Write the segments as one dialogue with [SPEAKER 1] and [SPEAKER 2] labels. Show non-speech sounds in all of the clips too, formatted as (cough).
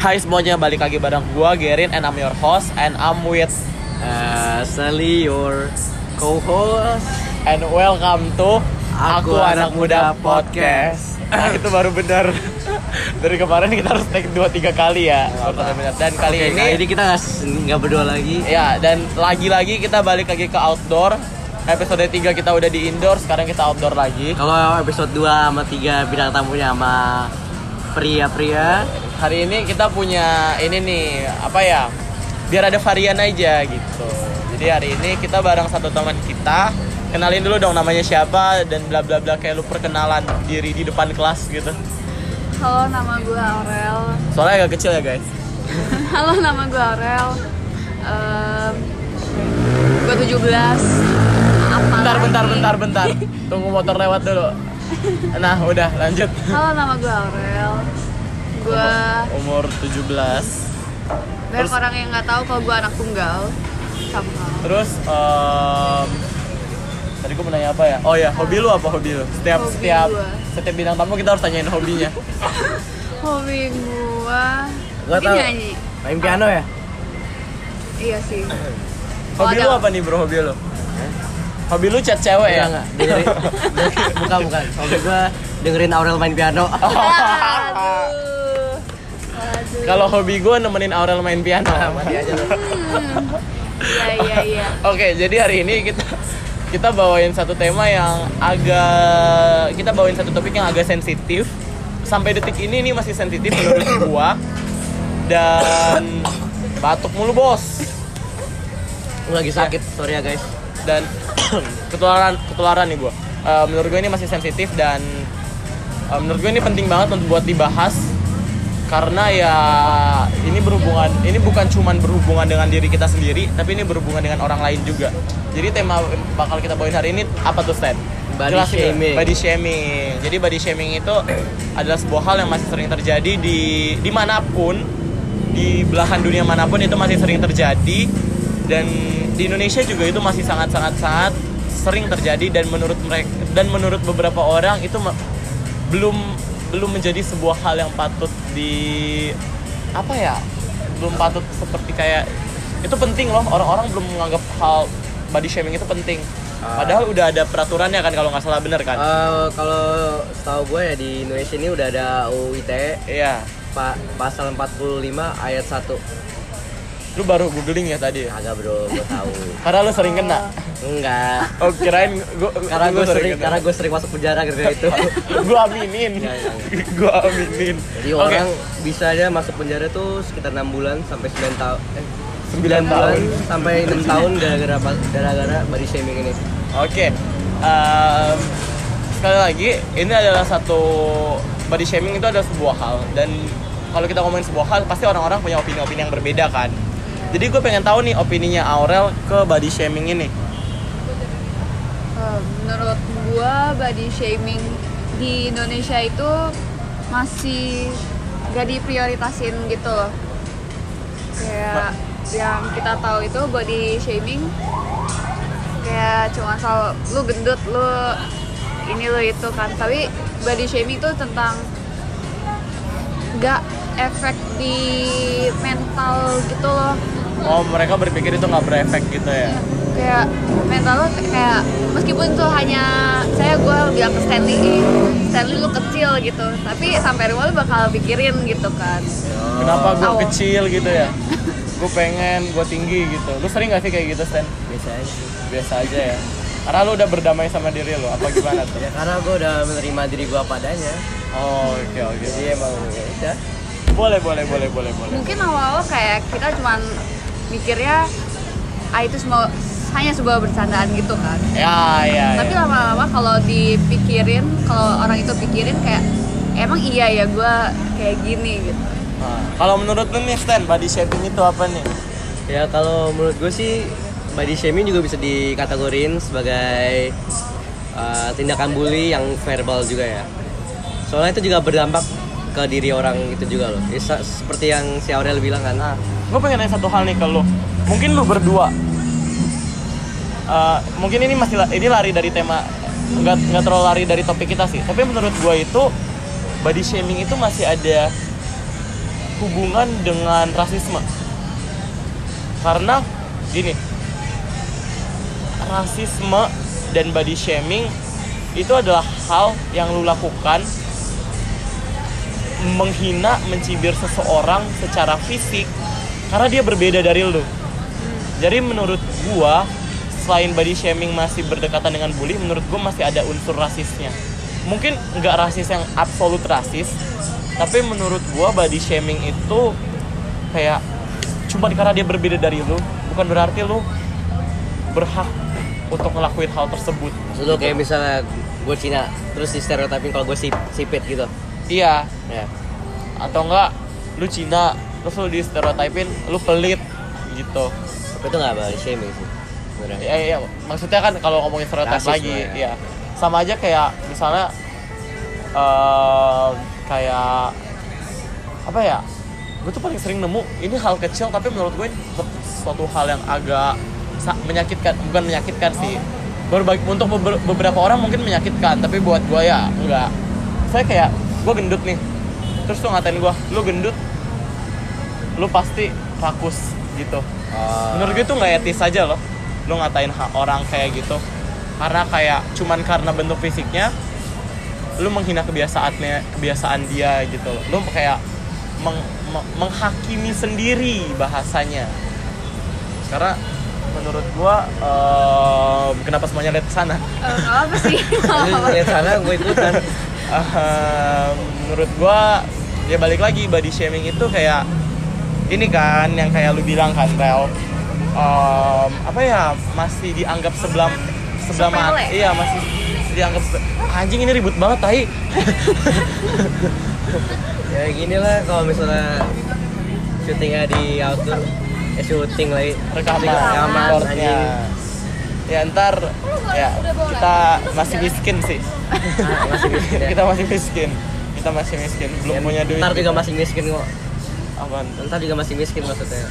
[SPEAKER 1] Hai semuanya, balik lagi bareng gua Gerin and I'm your host and I'm with
[SPEAKER 2] Uh, Sally, your co-host.
[SPEAKER 1] and welcome to Aku, Anak Muda, Podcast. Nah, itu baru benar. (laughs) Dari kemarin kita harus take 2 3 kali ya. baru benar. Dan kali
[SPEAKER 2] Oke,
[SPEAKER 1] ini
[SPEAKER 2] kali ini kita nggak s- nggak berdua lagi.
[SPEAKER 1] ya dan lagi-lagi kita balik lagi ke outdoor. Episode 3 kita udah di indoor, sekarang kita outdoor lagi.
[SPEAKER 2] Kalau episode 2 sama 3 bidang tamunya sama pria-pria.
[SPEAKER 1] Hari ini kita punya ini nih, apa ya? Biar ada varian aja gitu. Jadi hari ini kita bareng satu teman kita. Kenalin dulu dong namanya siapa dan bla bla bla kayak lu perkenalan diri di depan kelas gitu.
[SPEAKER 3] Halo, nama gue Aurel. (laughs)
[SPEAKER 1] Soalnya agak kecil ya guys.
[SPEAKER 3] Halo, nama gue Aurel. Ehm, gue 17. Apa?
[SPEAKER 1] Bentar
[SPEAKER 3] lagi?
[SPEAKER 1] bentar bentar
[SPEAKER 2] (laughs)
[SPEAKER 1] bentar. Tunggu motor lewat dulu. Nah, udah lanjut.
[SPEAKER 3] Halo, nama gue Aurel. Gue
[SPEAKER 1] Umur 17.
[SPEAKER 3] banyak orang yang nggak tahu kalau gue anak tunggal. Sama.
[SPEAKER 1] Terus em, tadi gue mau nanya apa ya? Oh ya, hobi lu apa hobi lu? Setiap
[SPEAKER 3] Hobi
[SPEAKER 1] setiap
[SPEAKER 3] gua.
[SPEAKER 1] setiap bintang tamu kita harus tanyain
[SPEAKER 3] (laughs)
[SPEAKER 1] hobinya.
[SPEAKER 3] Hobi gue
[SPEAKER 2] Gua
[SPEAKER 3] mungkin
[SPEAKER 2] tahu.
[SPEAKER 3] nyanyi.
[SPEAKER 2] Main piano ya?
[SPEAKER 3] Iya sih.
[SPEAKER 1] Hobi
[SPEAKER 3] ada-
[SPEAKER 1] lu apa nih bro? Hobi lu? Hobi lu chat cewek ya?
[SPEAKER 2] Enggak, (laughs) dengerin. bukan, bukan. Soalnya gue dengerin Aurel main piano.
[SPEAKER 3] (laughs) Aduh. Aduh.
[SPEAKER 1] (laughs) Kalau hobi gue nemenin Aurel main piano.
[SPEAKER 2] Mati Nah, aja lu.
[SPEAKER 3] Iya, iya, iya.
[SPEAKER 1] Oke, jadi hari ini kita kita bawain satu tema yang agak kita bawain satu topik yang agak sensitif. Sampai detik ini ini masih sensitif menurut gua. Dan batuk mulu, Bos.
[SPEAKER 2] Gua lagi sakit, sorry ya guys.
[SPEAKER 1] Dan (clears throat) ketularan ketularan nih gua. Eh, menurut gue ini masih sensitif dan eh, menurut gue ini penting banget untuk buat dibahas karena ya ini berhubungan ini bukan cuman berhubungan dengan diri kita sendiri tapi ini berhubungan dengan orang lain juga jadi tema bakal kita bawain hari ini apa tuh Stan? Jelasin
[SPEAKER 2] Body
[SPEAKER 1] dulu.
[SPEAKER 2] shaming.
[SPEAKER 1] body shaming jadi body shaming itu adalah sebuah hal yang masih sering terjadi di dimanapun di belahan dunia manapun itu masih sering terjadi dan di Indonesia juga itu masih sangat sangat sangat sering terjadi dan menurut mereka dan menurut beberapa orang itu me- belum belum menjadi sebuah hal yang patut di apa ya belum patut seperti kayak itu penting loh orang-orang belum menganggap hal body shaming itu penting
[SPEAKER 2] Ah.
[SPEAKER 1] padahal udah ada peraturannya kan kalau nggak salah bener kan
[SPEAKER 2] Eh, kalau setahu gue ya di Indonesia ini udah ada UU ITE
[SPEAKER 1] iya
[SPEAKER 2] pa- pasal 45 ayat 1.
[SPEAKER 1] lu baru googling ya tadi ya
[SPEAKER 2] Agak bro, gue tahu.
[SPEAKER 1] karena lu sering kena
[SPEAKER 2] Enggak.
[SPEAKER 1] oh kirain gua
[SPEAKER 2] karena
[SPEAKER 1] lu
[SPEAKER 2] gue sering
[SPEAKER 1] kena.
[SPEAKER 2] karena gue sering masuk penjara gara-gara itu (laughs)
[SPEAKER 1] gua aminin
[SPEAKER 2] Iya, iya.
[SPEAKER 1] (laughs) gua aminin
[SPEAKER 2] jadi
[SPEAKER 1] Oke.
[SPEAKER 2] orang bisa aja masuk penjara tuh sekitar 6 bulan sampai 9 tahun eh,
[SPEAKER 1] 9
[SPEAKER 2] bulan
[SPEAKER 1] tahun.
[SPEAKER 2] sampai 6 tahun gara-gara gara-gara body shaming ini
[SPEAKER 1] Oh. Oke, ehm, sekali lagi ini adalah satu body shaming itu adalah sebuah hal dan kalau kita ngomongin sebuah hal pasti orang-orang punya opini-opini yang berbeda kan. Jadi gue pengen tahu nih opininya Aurel ke body shaming ini.
[SPEAKER 3] Eh, menurut gua body shaming di Indonesia itu masih gak diprioritasin gitu loh kayak yang kita tahu itu body shaming kayak cuma soal lu gendut lu ini lu itu kan tapi body shaming itu tentang gak efek di mental gitu loh
[SPEAKER 1] Oh mereka berpikir itu nggak berefek gitu ya?
[SPEAKER 3] kayak mental lo kayak meskipun tuh hanya saya gue bilang ke Stanley "Ih, Stanley lu kecil gitu tapi sampai rumah lu bakal pikirin gitu kan
[SPEAKER 1] Kenapa gue
[SPEAKER 3] Tahu.
[SPEAKER 1] kecil gitu (laughs) ya? Gue pengen gue tinggi gitu. Lu sering gak sih kayak gitu Stan?
[SPEAKER 2] biasanya
[SPEAKER 1] Biasa aja ya. Karena lu udah berdamai sama diri lu. Apa gimana tuh? (laughs)
[SPEAKER 2] ya karena gue udah menerima diri gue padanya
[SPEAKER 1] Oh, Oke oke.
[SPEAKER 2] jadi emang ya udah
[SPEAKER 1] Boleh boleh boleh boleh boleh.
[SPEAKER 3] mungkin awal-awal kayak kita cuman mikirnya ah itu semua hanya sebuah bercandaan gitu kan
[SPEAKER 1] Ya ya.
[SPEAKER 3] tapi
[SPEAKER 1] ya.
[SPEAKER 3] lama-lama kalau dipikirin kalau orang itu pikirin kayak emang iya ya gue kayak gini gitu
[SPEAKER 1] Nah, Kalau menurut lu nih Stan, body shaping itu apa nih?
[SPEAKER 2] ya kalau menurut gue sih body shaming juga bisa dikategorin sebagai uh, tindakan bully yang verbal juga ya soalnya itu juga berdampak ke diri orang itu juga loh Ya, se- seperti yang si Aurel bilang kan ah,
[SPEAKER 1] Gue pengen nanya satu hal nih ke lu. Mungkin lu berdua. Eh, mungkin ini masih la- ini lari dari tema nggak nggak terlalu lari dari topik kita sih. Tapi menurut gue itu body shaming itu masih ada hubungan dengan rasisme karena gini rasisme dan body shaming itu adalah hal yang lu lakukan menghina mencibir seseorang secara fisik karena dia berbeda dari lu jadi menurut gua selain body shaming masih berdekatan dengan bully menurut gua masih ada unsur rasisnya mungkin nggak rasis yang absolut rasis tapi menurut gua body shaming itu kayak cuma karena dia berbeda dari lu bukan berarti lu berhak untuk ngelakuin hal tersebut
[SPEAKER 2] Lu kayak misalnya gue Cina, terus di stereotipin kalau gue sip, sipit gitu.
[SPEAKER 1] iya
[SPEAKER 2] Ya.
[SPEAKER 1] atau enggak lu Cina terus lu di stereotipin lu pelit gitu
[SPEAKER 2] Tapi itu nggak body shaming sih. sebenarnya.
[SPEAKER 1] ya, ya, maksudnya kan kalau ngomongin stereotip
[SPEAKER 2] Rasisme
[SPEAKER 1] lagi
[SPEAKER 2] Iya, ya.
[SPEAKER 1] ya. sama aja kayak misalnya eh, kayak apa ya gue tuh paling sering nemu ini hal kecil tapi menurut gue ini tetap suatu hal yang agak sa- menyakitkan bukan menyakitkan sih berbagi untuk beber- beberapa orang mungkin menyakitkan tapi buat gue ya enggak saya kayak gue gendut nih terus tuh ngatain gue lu gendut lu pasti rakus gitu
[SPEAKER 2] Oh. (laughs)
[SPEAKER 1] menurut gue itu nggak etis aja loh lo ngatain hak orang kayak gitu karena kayak cuman karena bentuk fisiknya lu menghina kebiasaannya kebiasaan dia gitu loh lu kayak meng- me- menghakimi sendiri bahasanya karena menurut gua eh, kenapa semuanya lihat ke sana
[SPEAKER 3] Eh, nggak apa sih
[SPEAKER 2] (laughs)
[SPEAKER 3] (laughs)
[SPEAKER 2] Lu lihat sana gue ikutan.
[SPEAKER 1] Ehm, menurut gua ya balik lagi body shaming itu kayak ini kan yang kayak lu bilang kan Rel Ehm, apa ya masih dianggap sebelah sebelah mata
[SPEAKER 3] Sepele.
[SPEAKER 1] iya masih dianggap sebe- anjing ini ribut banget tai
[SPEAKER 2] ya gini lah kalau misalnya syutingnya di outdoor eh syuting lagi
[SPEAKER 1] rekaman
[SPEAKER 2] Syuting rekaman
[SPEAKER 1] recordnya.
[SPEAKER 2] anjing
[SPEAKER 1] ya ntar ya kita masih miskin sih
[SPEAKER 2] Ah, masih miskin (laughs) ya.
[SPEAKER 1] kita masih miskin kita masih miskin belum
[SPEAKER 2] Ya,
[SPEAKER 1] punya duit
[SPEAKER 2] ntar juga masih miskin kok
[SPEAKER 1] apaan
[SPEAKER 2] ntar juga masih miskin maksudnya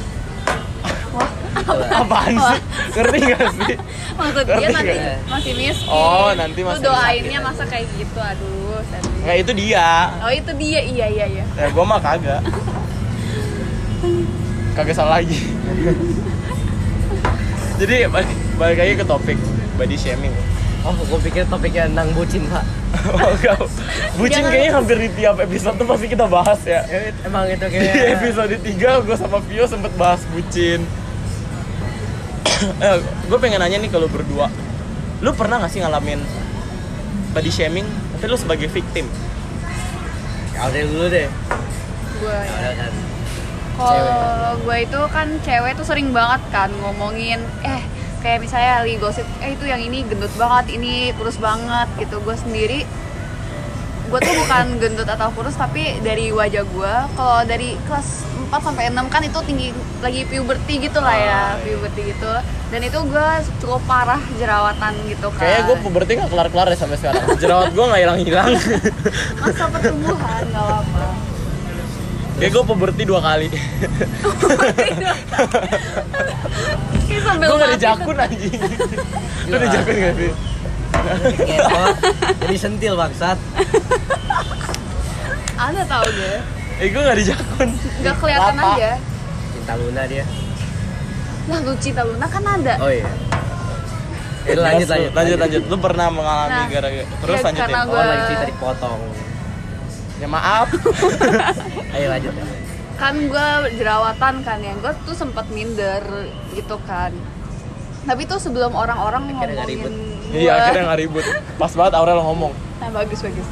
[SPEAKER 2] Gitu lah.
[SPEAKER 1] apaan sih ngerti gak sih
[SPEAKER 3] maksud dia
[SPEAKER 1] Ngerti
[SPEAKER 3] nanti
[SPEAKER 2] nggak?
[SPEAKER 3] masih miskin
[SPEAKER 1] Oh, nanti masih
[SPEAKER 3] lu doainnya
[SPEAKER 1] miskin.
[SPEAKER 3] masa kayak gitu aduh sedih.
[SPEAKER 1] nggak itu dia
[SPEAKER 3] oh itu dia iya iya iya
[SPEAKER 1] Ya gua mah kagak. kagak salah lagi. Jadi balik, balik lagi ke topik body shaming. (laughs)
[SPEAKER 2] oh gue pikir topiknya tentang bucin pak
[SPEAKER 1] Oh, kau. Bucin
[SPEAKER 3] Jangan.
[SPEAKER 1] kayaknya hampir di tiap episode tuh pasti kita bahas ya.
[SPEAKER 2] Ya, emang itu
[SPEAKER 1] Di
[SPEAKER 2] (laughs) kayak
[SPEAKER 1] episode 3 gue sama Vio sempet bahas bucin. (coughs) eh, gue pengen nanya nih kalau berdua. Lu pernah gak sih ngalamin body shaming? Tapi lu sebagai victim.
[SPEAKER 2] Aurel dulu deh
[SPEAKER 3] gue
[SPEAKER 2] Aurel kan
[SPEAKER 3] ya. kalau gue itu kan cewek tuh sering banget kan ngomongin eh kayak misalnya lagi gosip eh itu yang ini gendut banget ini kurus banget gitu gue sendiri gue tuh bukan
[SPEAKER 1] (laughs)
[SPEAKER 3] gendut atau kurus tapi dari wajah gue kalau dari kelas 4 sampai 6 kan itu tinggi lagi puberty gitu lah ya
[SPEAKER 1] Ah, iya.
[SPEAKER 3] puberty gitu dan itu gue cukup parah jerawatan gitu kan
[SPEAKER 1] Kayaknya gue puberti gak kelar-kelar ya sampai sekarang. Jerawat gue gak hilang-hilang.
[SPEAKER 3] masa pertumbuhan gak apa-apa
[SPEAKER 1] Kayak gue puberti dua kali.
[SPEAKER 3] Kayak sambil
[SPEAKER 1] gue gak
[SPEAKER 3] mati
[SPEAKER 1] dijakun anjing lu
[SPEAKER 2] Gila.
[SPEAKER 1] dijakun gak sih
[SPEAKER 2] Ngetot, Iya, jadi sentil bangsat
[SPEAKER 3] tuh. ada tau gue
[SPEAKER 1] eh gue gak dijakun
[SPEAKER 3] nggak kelihatan
[SPEAKER 1] Lapa.
[SPEAKER 3] aja
[SPEAKER 2] cinta luna dia
[SPEAKER 3] Lah lu cinta Luna kan ada.
[SPEAKER 2] oh iya Eh, lanjut,
[SPEAKER 1] Terus,
[SPEAKER 2] lanjut,
[SPEAKER 1] lanjut lanjut lu pernah mengalami
[SPEAKER 3] Nah,
[SPEAKER 1] gara-gara terus
[SPEAKER 3] ya,
[SPEAKER 1] lanjutin
[SPEAKER 3] karena-
[SPEAKER 2] Oh, lagi cerita dipotong.
[SPEAKER 1] ya maaf
[SPEAKER 2] Ayo lanjut. ya.
[SPEAKER 3] Kan gue jerawatan kan ya. Gue tuh sempat minder gitu kan. Tapi tuh sebelum orang-orang
[SPEAKER 2] Akhirnya nggak
[SPEAKER 3] ngomongin gue.
[SPEAKER 1] iya akhirnya gak ribut pas banget Aurel ngomong
[SPEAKER 3] Nah, bagus bagus.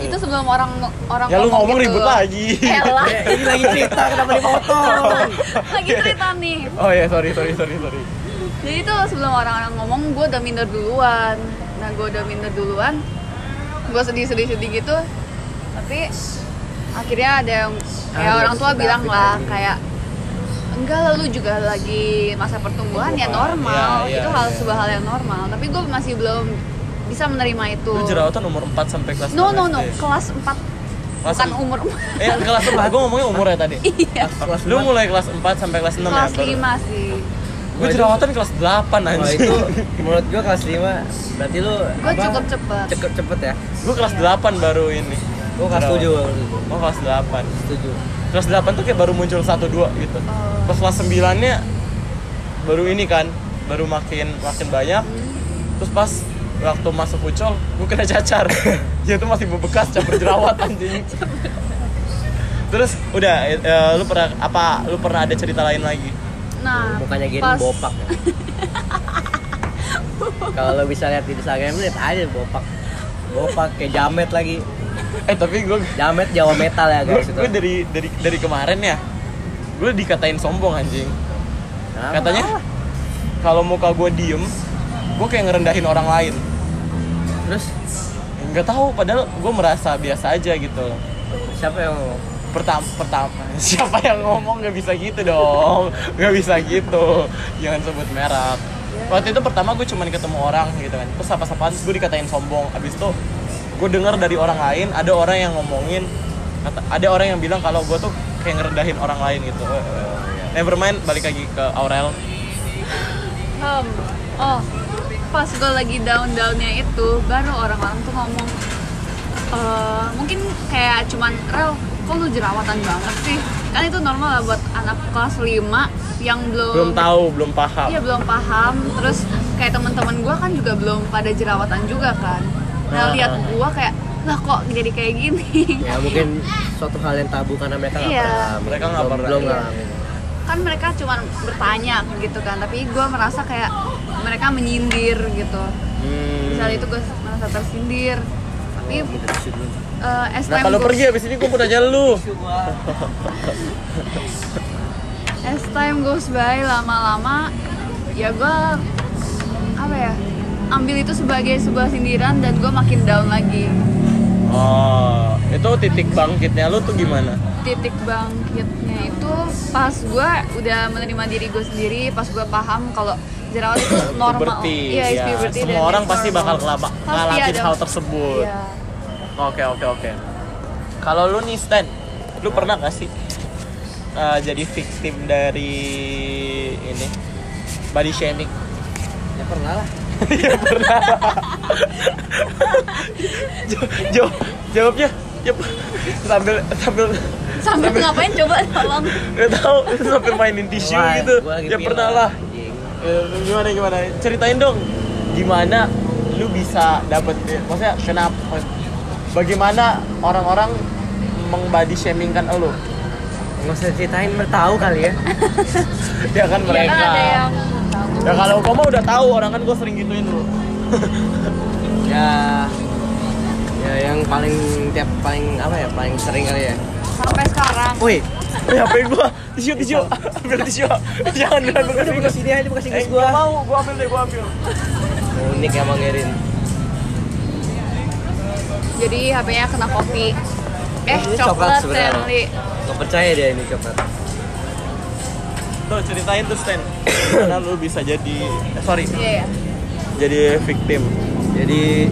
[SPEAKER 3] Itu sebelum orang orang
[SPEAKER 1] ya lu ngomong
[SPEAKER 3] gitu.
[SPEAKER 1] ribut lagi
[SPEAKER 3] (laughs) Elah.
[SPEAKER 1] (laughs)
[SPEAKER 2] Eh, ini lagi cerita kenapa dipotong?
[SPEAKER 3] Iya. lagi cerita nih.
[SPEAKER 1] oh ya sorry sorry sorry sorry
[SPEAKER 3] Gitu. Jadi tuh sebelum orang-orang ngomong gue udah minder duluan. Nah, gue udah minder duluan. Gue sedih-sedih-sedih gitu. Tapi akhirnya ada yang ya
[SPEAKER 2] Ah,
[SPEAKER 3] orang tua
[SPEAKER 2] sedap,
[SPEAKER 3] bilang lah
[SPEAKER 1] gitu.
[SPEAKER 2] sedap.
[SPEAKER 3] kayak enggak lah lu juga lagi masa pertumbuhan ya
[SPEAKER 1] Pertumbuhan,
[SPEAKER 3] normal.
[SPEAKER 1] iya,
[SPEAKER 3] itu
[SPEAKER 1] iya,
[SPEAKER 3] hal
[SPEAKER 1] iya.
[SPEAKER 3] sebuah hal yang normal. Tapi gue masih belum bisa menerima itu.
[SPEAKER 1] lu jerawatan umur 4 sampai kelas
[SPEAKER 3] No,
[SPEAKER 1] 6
[SPEAKER 3] no, no.
[SPEAKER 1] SD.
[SPEAKER 3] Kelas 4
[SPEAKER 1] Kelas
[SPEAKER 3] bukan
[SPEAKER 1] em-
[SPEAKER 3] umur
[SPEAKER 1] eh kelas 4 gue ngomongnya umurnya tadi
[SPEAKER 3] Iya.
[SPEAKER 2] Kelas
[SPEAKER 1] lu mulai kelas 4 sampai kelas 6 ya
[SPEAKER 3] (laughs) Kelas Oh, 5 sih.
[SPEAKER 1] gue jerawatan kelas 8
[SPEAKER 2] Kalau
[SPEAKER 1] anjing
[SPEAKER 2] Oh, itu menurut gua kelas 5 berarti lu
[SPEAKER 3] Gue
[SPEAKER 2] apa,
[SPEAKER 3] cukup cepet.
[SPEAKER 2] Cukup cepet ya.
[SPEAKER 1] gue kelas 8 baru ini
[SPEAKER 2] Gua kelas 7
[SPEAKER 1] Jerawat.
[SPEAKER 2] waktu itu.
[SPEAKER 1] gue kelas 8
[SPEAKER 2] Kelas 7.
[SPEAKER 1] kelas 8 tuh kayak baru muncul satu dua gitu
[SPEAKER 3] Oh.
[SPEAKER 1] pas kelas 9 nya baru ini kan baru makin makin banyak terus pas waktu masuk ucol gue kena cacar ya itu masih bebekas campur jerawat anjing terus udah eh, lu pernah apa lu pernah ada cerita lain lagi
[SPEAKER 3] Nah,
[SPEAKER 2] mukanya gini
[SPEAKER 3] pas-
[SPEAKER 2] bopak
[SPEAKER 3] (laughs)
[SPEAKER 2] ya. kalau lo bisa lihat di Instagram lihat aja bopak bopak kayak jamet lagi
[SPEAKER 1] eh tapi gue
[SPEAKER 2] jamet Jawa metal ya guys itu
[SPEAKER 1] gue dari dari dari kemarin ya gue dikatain sombong anjing
[SPEAKER 2] Kenapa?
[SPEAKER 1] katanya kalau muka gue diem gue kayak ngerendahin orang lain
[SPEAKER 2] terus
[SPEAKER 1] nggak tahu padahal gue merasa biasa aja gitu
[SPEAKER 2] siapa yang ngomong?
[SPEAKER 1] pertama pertama (laughs) siapa yang ngomong nggak bisa gitu dong nggak bisa gitu jangan sebut merek waktu itu pertama gue cuman ketemu orang gitu kan terus apa sapaan terus gue dikatain sombong abis itu gue dengar dari orang lain ada orang yang ngomongin kata- ada orang yang bilang kalau gue tuh kayak ngerendahin orang lain gitu never mind balik lagi ke Aurel
[SPEAKER 3] Hmm, oh, pas gue lagi down-downnya itu, baru orang-orang tuh ngomong, eh, mungkin kayak cuman, Rel, kok lu jerawatan banget sih? Kan itu normal lah buat anak kelas 5 yang belum...
[SPEAKER 1] belum tahu belum paham
[SPEAKER 3] Iya, belum paham. Terus kayak teman-teman gue kan juga belum pada jerawatan juga kan.
[SPEAKER 1] Ah.
[SPEAKER 3] Nah, lihat gue kayak, lah kok jadi kayak gini? (laughs)
[SPEAKER 2] ya mungkin suatu hal yang tabu karena mereka nggak
[SPEAKER 3] Iya.
[SPEAKER 2] pernah ngalamin.
[SPEAKER 1] Mereka nggak
[SPEAKER 2] Belum-
[SPEAKER 1] pernah.
[SPEAKER 2] belum
[SPEAKER 1] Iya.
[SPEAKER 2] ngalamin
[SPEAKER 3] kan mereka cuman bertanya gitu kan tapi gue merasa kayak mereka menyindir gitu
[SPEAKER 1] Hmm.
[SPEAKER 3] misalnya itu gue merasa tersindir tapi
[SPEAKER 2] Oh, kita tisu dulu.
[SPEAKER 1] nah
[SPEAKER 3] eh, STM
[SPEAKER 1] kalau
[SPEAKER 3] gua-
[SPEAKER 1] pergi abis ini gue mau nanya lu
[SPEAKER 3] as time goes by lama-lama ya gue apa ya ambil itu sebagai sebuah sindiran dan gue makin down lagi
[SPEAKER 1] oh itu titik bangkitnya lu tuh gimana
[SPEAKER 3] titik bangkitnya itu pas gue udah menerima diri gue sendiri pas gue paham kalau jerawat
[SPEAKER 1] (coughs)
[SPEAKER 3] itu normal
[SPEAKER 1] Puberty,
[SPEAKER 3] Iya, it's
[SPEAKER 1] ya.
[SPEAKER 3] puberty dan
[SPEAKER 1] semua
[SPEAKER 3] it's
[SPEAKER 1] orang pasti
[SPEAKER 3] normal.
[SPEAKER 1] bakal ngelaba-
[SPEAKER 3] Pasti
[SPEAKER 1] ngalamin
[SPEAKER 3] ada-
[SPEAKER 1] hal tersebut
[SPEAKER 3] Iya.
[SPEAKER 1] oke oke oke kalau lu nih Stan lu pernah gak sih eh, jadi victim dari ini body shaming (laughs)
[SPEAKER 2] ya pernah lah
[SPEAKER 1] jawab jawabnya yep. (laughs) sambil sambil
[SPEAKER 3] sambil ngapain coba
[SPEAKER 1] (laughs)
[SPEAKER 3] tolong Iya,
[SPEAKER 1] nggak tahu sambil mainin tisu
[SPEAKER 2] Wah,
[SPEAKER 1] gitu
[SPEAKER 2] gua lagi
[SPEAKER 1] ya
[SPEAKER 2] pilek.
[SPEAKER 1] pernah lah
[SPEAKER 2] Anjing.
[SPEAKER 1] Eh, gimana gimana ceritain dong gimana lu bisa dapet eh, maksudnya kenapa bagaimana orang-orang mengbody shamingkan elu
[SPEAKER 2] nggak usah ceritain bertahu kali ya
[SPEAKER 1] (laughs) ya kan
[SPEAKER 3] Iya
[SPEAKER 1] mereka
[SPEAKER 3] kan ada yang
[SPEAKER 1] ya kalau kau mah udah tahu orang kan gue sering gituin lu
[SPEAKER 2] ya ya yang paling tiap paling apa ya paling sering kali ya
[SPEAKER 3] sampai sekarang
[SPEAKER 2] woi
[SPEAKER 1] ya apa gue tisu tisu (laughs) ambil tisu jangan jangan bukan
[SPEAKER 2] Ini buka sini aja, buka sini
[SPEAKER 1] eh,
[SPEAKER 2] gua.
[SPEAKER 1] nggak mau gue ambil deh gue ambil
[SPEAKER 2] Unik emang Erin.
[SPEAKER 3] jadi HP-nya kena kopi eh
[SPEAKER 2] Ini
[SPEAKER 3] coklat
[SPEAKER 2] sebenarnya.
[SPEAKER 3] Stanley
[SPEAKER 2] Nggak percaya dia ini coklat.
[SPEAKER 1] tuh ceritain tuh Stan karena lu bisa jadi eh, sorry
[SPEAKER 3] iya ya
[SPEAKER 1] jadi victim
[SPEAKER 2] Jadi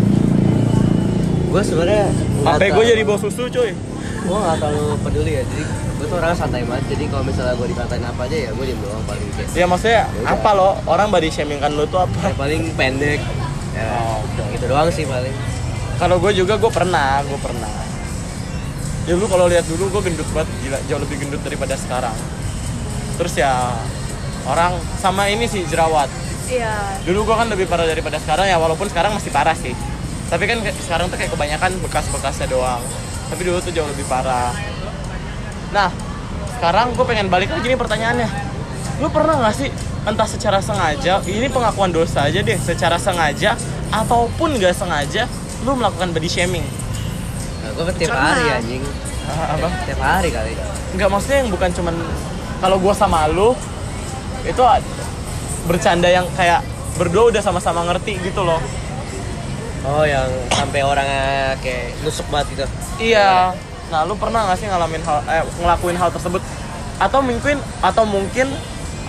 [SPEAKER 2] gue sebenarnya nggak
[SPEAKER 1] sampai gue
[SPEAKER 2] terlalu-
[SPEAKER 1] jadi bos susu cuy
[SPEAKER 2] gue nggak terlalu peduli ya. Jadi gue tuh orang santai banget. Jadi kalau misalnya gue dikatain apa aja ya gue diem doang paling kayak.
[SPEAKER 1] ya maksudnya apa lo orang body shaming kan lu tuh apa
[SPEAKER 2] ya, paling pendek. Ya,
[SPEAKER 1] Oh,
[SPEAKER 2] gitu doang sih paling.
[SPEAKER 1] Kalau gue juga gue pernah, gue pernah. Ya lu kalau lihat dulu gue gendut banget, gila jauh lebih gendut daripada sekarang. Terus ya orang sama ini sih jerawat.
[SPEAKER 3] iya
[SPEAKER 1] Dulu gue kan lebih parah daripada sekarang ya walaupun sekarang masih parah sih. Tapi kan ke- sekarang tuh kayak kebanyakan bekas-bekasnya doang. Tapi dulu tuh jauh lebih parah. Nah, sekarang gue pengen balik lagi nih pertanyaannya. Lu pernah nggak sih entah secara sengaja, ini pengakuan dosa aja deh, secara sengaja ataupun nggak sengaja lu melakukan body shaming?
[SPEAKER 2] Nah, gue tiap
[SPEAKER 3] Pernah.
[SPEAKER 2] hari anjing.
[SPEAKER 1] Ah, apa?
[SPEAKER 2] Tiap hari kali.
[SPEAKER 1] Enggak maksudnya yang bukan cuman kalau gua sama lu itu a- bercanda yang kayak berdua udah sama-sama ngerti gitu loh.
[SPEAKER 2] Oh yang sampai orangnya kayak nusuk banget gitu.
[SPEAKER 1] Iya. Nah, lu pernah nggak sih ngalamin hal eh, ngelakuin hal tersebut? Atau mungkin atau mungkin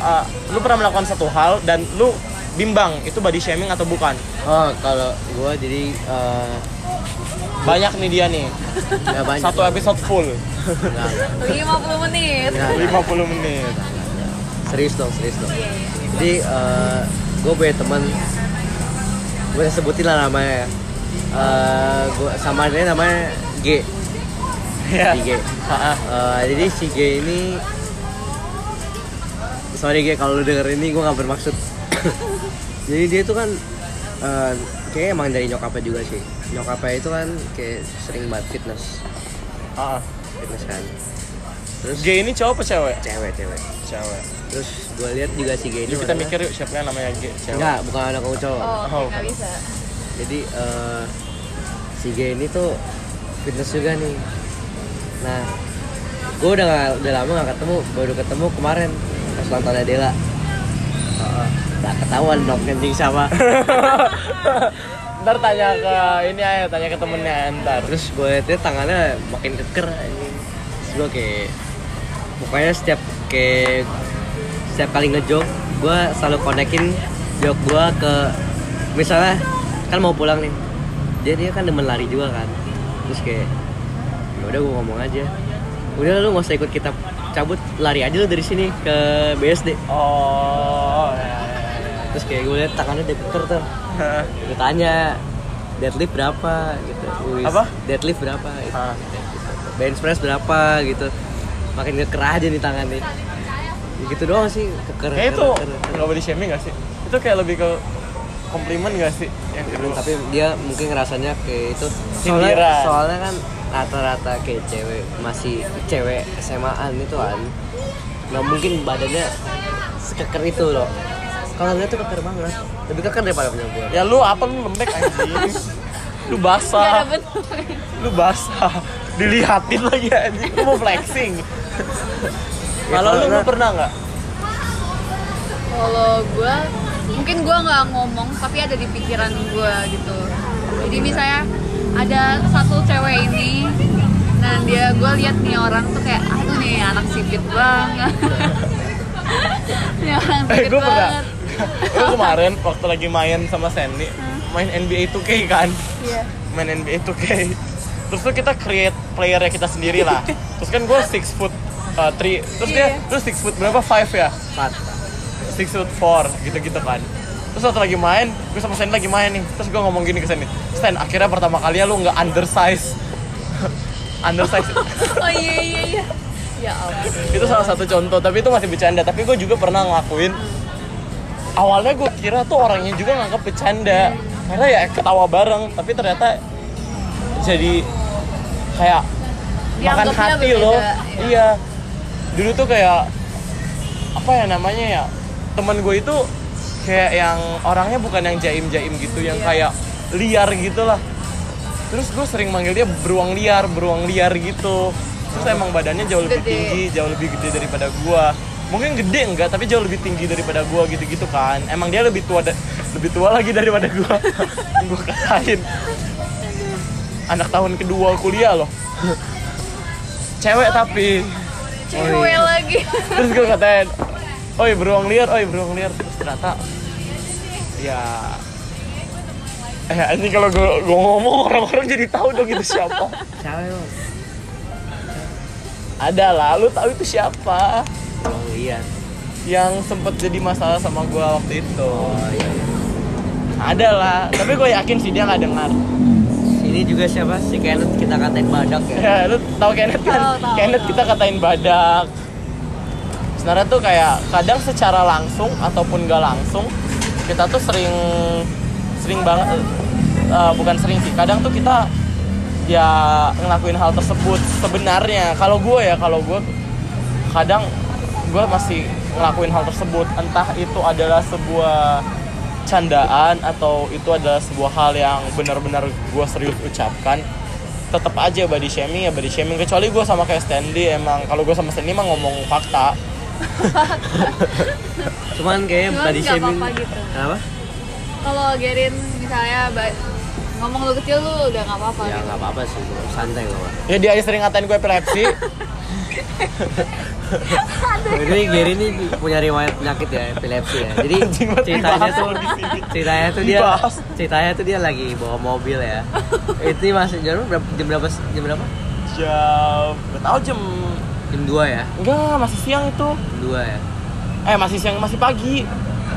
[SPEAKER 1] uh, lu pernah melakukan satu hal dan lu bimbang itu body shaming atau bukan?
[SPEAKER 2] Oh kalau gue jadi eh,
[SPEAKER 1] Banyak nih dia nih.
[SPEAKER 2] nggak banyak.
[SPEAKER 1] Satu episode full,
[SPEAKER 2] Nggak, nggak,
[SPEAKER 3] 50 menit
[SPEAKER 2] nggak, nggak.
[SPEAKER 1] 50 menit.
[SPEAKER 2] serius dong serius dong jadi gue punya teman gue sebutin lah namanya ya. Eh, gua, sama dia namanya G
[SPEAKER 1] Iya.
[SPEAKER 2] si gay.
[SPEAKER 1] Ha-ha.
[SPEAKER 2] Eh, jadi si gay ini sorry gay kalau lu denger ini gue nggak bermaksud (coughs) jadi dia tuh kan eh kayaknya emang dari nyokapnya juga sih nyokapnya itu kan kayak sering banget fitness
[SPEAKER 1] Ha-ha.
[SPEAKER 2] fitness kan terus
[SPEAKER 1] Gay ini cowok apa cewek?
[SPEAKER 2] cewek cewek
[SPEAKER 1] Cewek.
[SPEAKER 2] terus gue lihat juga si gay
[SPEAKER 1] Jadi
[SPEAKER 2] ini
[SPEAKER 1] kita
[SPEAKER 2] orangnya-
[SPEAKER 1] mikir yuk siapa yang namanya gay cewek.
[SPEAKER 2] enggak bukan anak kamu cowok
[SPEAKER 3] Oh, oke,
[SPEAKER 1] Oh,
[SPEAKER 3] nggak
[SPEAKER 1] bukan.
[SPEAKER 3] bisa.
[SPEAKER 2] jadi eh, si G ini tuh fitness juga nih nah gue udah nggak- udah lama gak ketemu baru ketemu kemarin pas ulang tahunnya Dela tak ketahuan dong kencing sama
[SPEAKER 1] (laughs) ntar tanya ke ini aja tanya ke temennya ntar.
[SPEAKER 2] terus gue liatnya tangannya makin keker anjing terus gue kayak pokoknya setiap kayak setiap kali ngejog gue selalu konekin jog gue ke misalnya kan mau pulang nih dia dia kan demen lari juga kan terus kayak ya udah gue ngomong aja udah lu nggak usah ikut kita cabut lari aja lu dari sini ke BSD
[SPEAKER 1] Oh.
[SPEAKER 2] terus kayak gue liat tangannya udah keker tuh gue tanya deadlift berapa gitu Wih,
[SPEAKER 1] Apa?
[SPEAKER 2] deadlift berapa gitu. bench press berapa gitu makin keker aja nih tangan nih Ya gitu doang sih keker
[SPEAKER 1] Kayak
[SPEAKER 2] keker,
[SPEAKER 1] itu
[SPEAKER 2] keker, keker.
[SPEAKER 1] nggak body shaming nggak sih? Itu kayak lebih ke komplimen nggak sih? Yang gitu. kedua.
[SPEAKER 2] tapi dia mungkin ngerasanya kayak itu soalnya
[SPEAKER 1] Sindiran.
[SPEAKER 2] soalnya kan rata-rata kayak cewek masih cewek SMAan itu kan nggak mungkin badannya sekeker itu loh kalau lihat tuh keker banget lebih keker daripada punya gue
[SPEAKER 1] Ya lu apa lu lembek anjing? lu
[SPEAKER 3] Nggak
[SPEAKER 1] basah,
[SPEAKER 3] dapet.
[SPEAKER 1] lu basah. Dilihatin lagi anjing. Lu mau flexing. Kalau lu, lu
[SPEAKER 2] karena-
[SPEAKER 1] pernah nggak?
[SPEAKER 3] Kalau gue, mungkin gue nggak ngomong, tapi ada di pikiran gue gitu. Jadi misalnya ada satu cewek ini, dan dia gue lihat nih orang tuh kayak, aduh nih anak sipit banget. nih orang
[SPEAKER 1] Eh,
[SPEAKER 3] sipit
[SPEAKER 1] gue pernah.
[SPEAKER 3] banget.
[SPEAKER 1] Gue kemarin waktu lagi main sama Sandy, main NBA 2K kan,
[SPEAKER 3] Iya.
[SPEAKER 1] main NBA 2K. Terus tuh kita create playernya kita sendiri lah. Terus kan gue six foot uh, three, terus dia,
[SPEAKER 3] Iya.
[SPEAKER 1] terus six foot berapa five ya?
[SPEAKER 2] Fat.
[SPEAKER 1] six foot four gitu-gitu kan terus waktu lagi main gue sama Sandy lagi main nih terus gue ngomong gini ke Sandy Stan akhirnya pertama kalinya lu nggak undersize (laughs) undersize
[SPEAKER 3] Oh iya iya iya. Ya ampun.
[SPEAKER 1] itu salah satu contoh tapi itu masih bercanda tapi gue juga pernah ngelakuin awalnya gue kira tuh orangnya juga nganggap bercanda karena ya ketawa bareng tapi ternyata jadi kayak makan
[SPEAKER 3] Dianggapnya
[SPEAKER 1] hati
[SPEAKER 3] berbeda,
[SPEAKER 1] loh
[SPEAKER 3] ya.
[SPEAKER 1] iya dulu tuh kayak apa ya namanya ya teman gue itu kayak yang orangnya bukan yang jaim jaim gitu yang
[SPEAKER 3] Iya.
[SPEAKER 1] kayak liar gitu lah terus gue sering manggil dia beruang liar beruang liar gitu terus emang badannya jauh lebih
[SPEAKER 3] Hmm. Gede.
[SPEAKER 1] tinggi jauh lebih gede daripada gua mungkin gede enggak tapi jauh lebih tinggi daripada gua gitu-gitu kan emang dia lebih tua da- lebih tua lagi daripada
[SPEAKER 3] (laughs)
[SPEAKER 1] gua gua katain anak tahun kedua kuliah loh cewek tapi
[SPEAKER 3] Cewek lagi.
[SPEAKER 1] terus gue katain oi beruang liar oi beruang liar terus ternyata ya eh anjing kalau gue ngomong orang-orang jadi tahu dong itu siapa
[SPEAKER 2] Siapa emang?
[SPEAKER 1] ada lah lu tahu itu siapa
[SPEAKER 2] Oh iya.
[SPEAKER 1] yang sempet jadi masalah sama gue waktu itu
[SPEAKER 2] Oh iya.
[SPEAKER 1] ada lah tapi gue yakin sih dia nggak dengar
[SPEAKER 2] Ini juga siapa? Si Kenneth kita katain badak ya.
[SPEAKER 1] ya lu tahu Kenneth kan
[SPEAKER 3] Tahu, tahu,
[SPEAKER 1] Kenneth
[SPEAKER 3] tahu.
[SPEAKER 1] kita katain badak sebenarnya tuh kayak kadang secara langsung ataupun gak langsung kita tuh sering sering banget eh, bukan sering sih kadang tuh kita ya ngelakuin hal tersebut sebenarnya kalau gue ya kalau gue kadang gue masih ngelakuin hal tersebut entah itu adalah sebuah candaan atau itu adalah sebuah hal yang benar-benar gue serius ucapkan tetap aja body shaming ya body shaming kecuali gue sama kayak Stanley emang kalau gue sama Stanley emang ngomong fakta
[SPEAKER 2] Cuman kayaknya
[SPEAKER 3] Cuman
[SPEAKER 2] body
[SPEAKER 3] nggak
[SPEAKER 2] shaming.
[SPEAKER 3] apa-apa gitu.
[SPEAKER 2] Kenapa?
[SPEAKER 3] Kalau Gerin misalnya ba- ngomong lu kecil lu udah nggak apa-apa.
[SPEAKER 2] Ya
[SPEAKER 1] Iya.
[SPEAKER 3] gitu.
[SPEAKER 2] nggak apa-apa sih, bro. santai nggak apa.
[SPEAKER 1] ya dia aja sering ngatain gue epilepsi
[SPEAKER 2] Jadi Gary ini punya riwayat penyakit ya, epilepsi ya. Jadi
[SPEAKER 1] (laughs) Anjing banget
[SPEAKER 2] ceritanya
[SPEAKER 1] dibahas
[SPEAKER 2] tuh,
[SPEAKER 1] lagi sini.
[SPEAKER 2] ceritanya tuh dia,
[SPEAKER 1] Dibahas.
[SPEAKER 2] ceritanya tuh dia lagi bawa mobil ya. Itu masih jam berapa? Jam berapa? Jam berapa?
[SPEAKER 1] jam gak tau jam
[SPEAKER 2] Jam dua ya,
[SPEAKER 1] enggak masih siang itu
[SPEAKER 2] jam dua ya.
[SPEAKER 1] eh masih siang masih pagi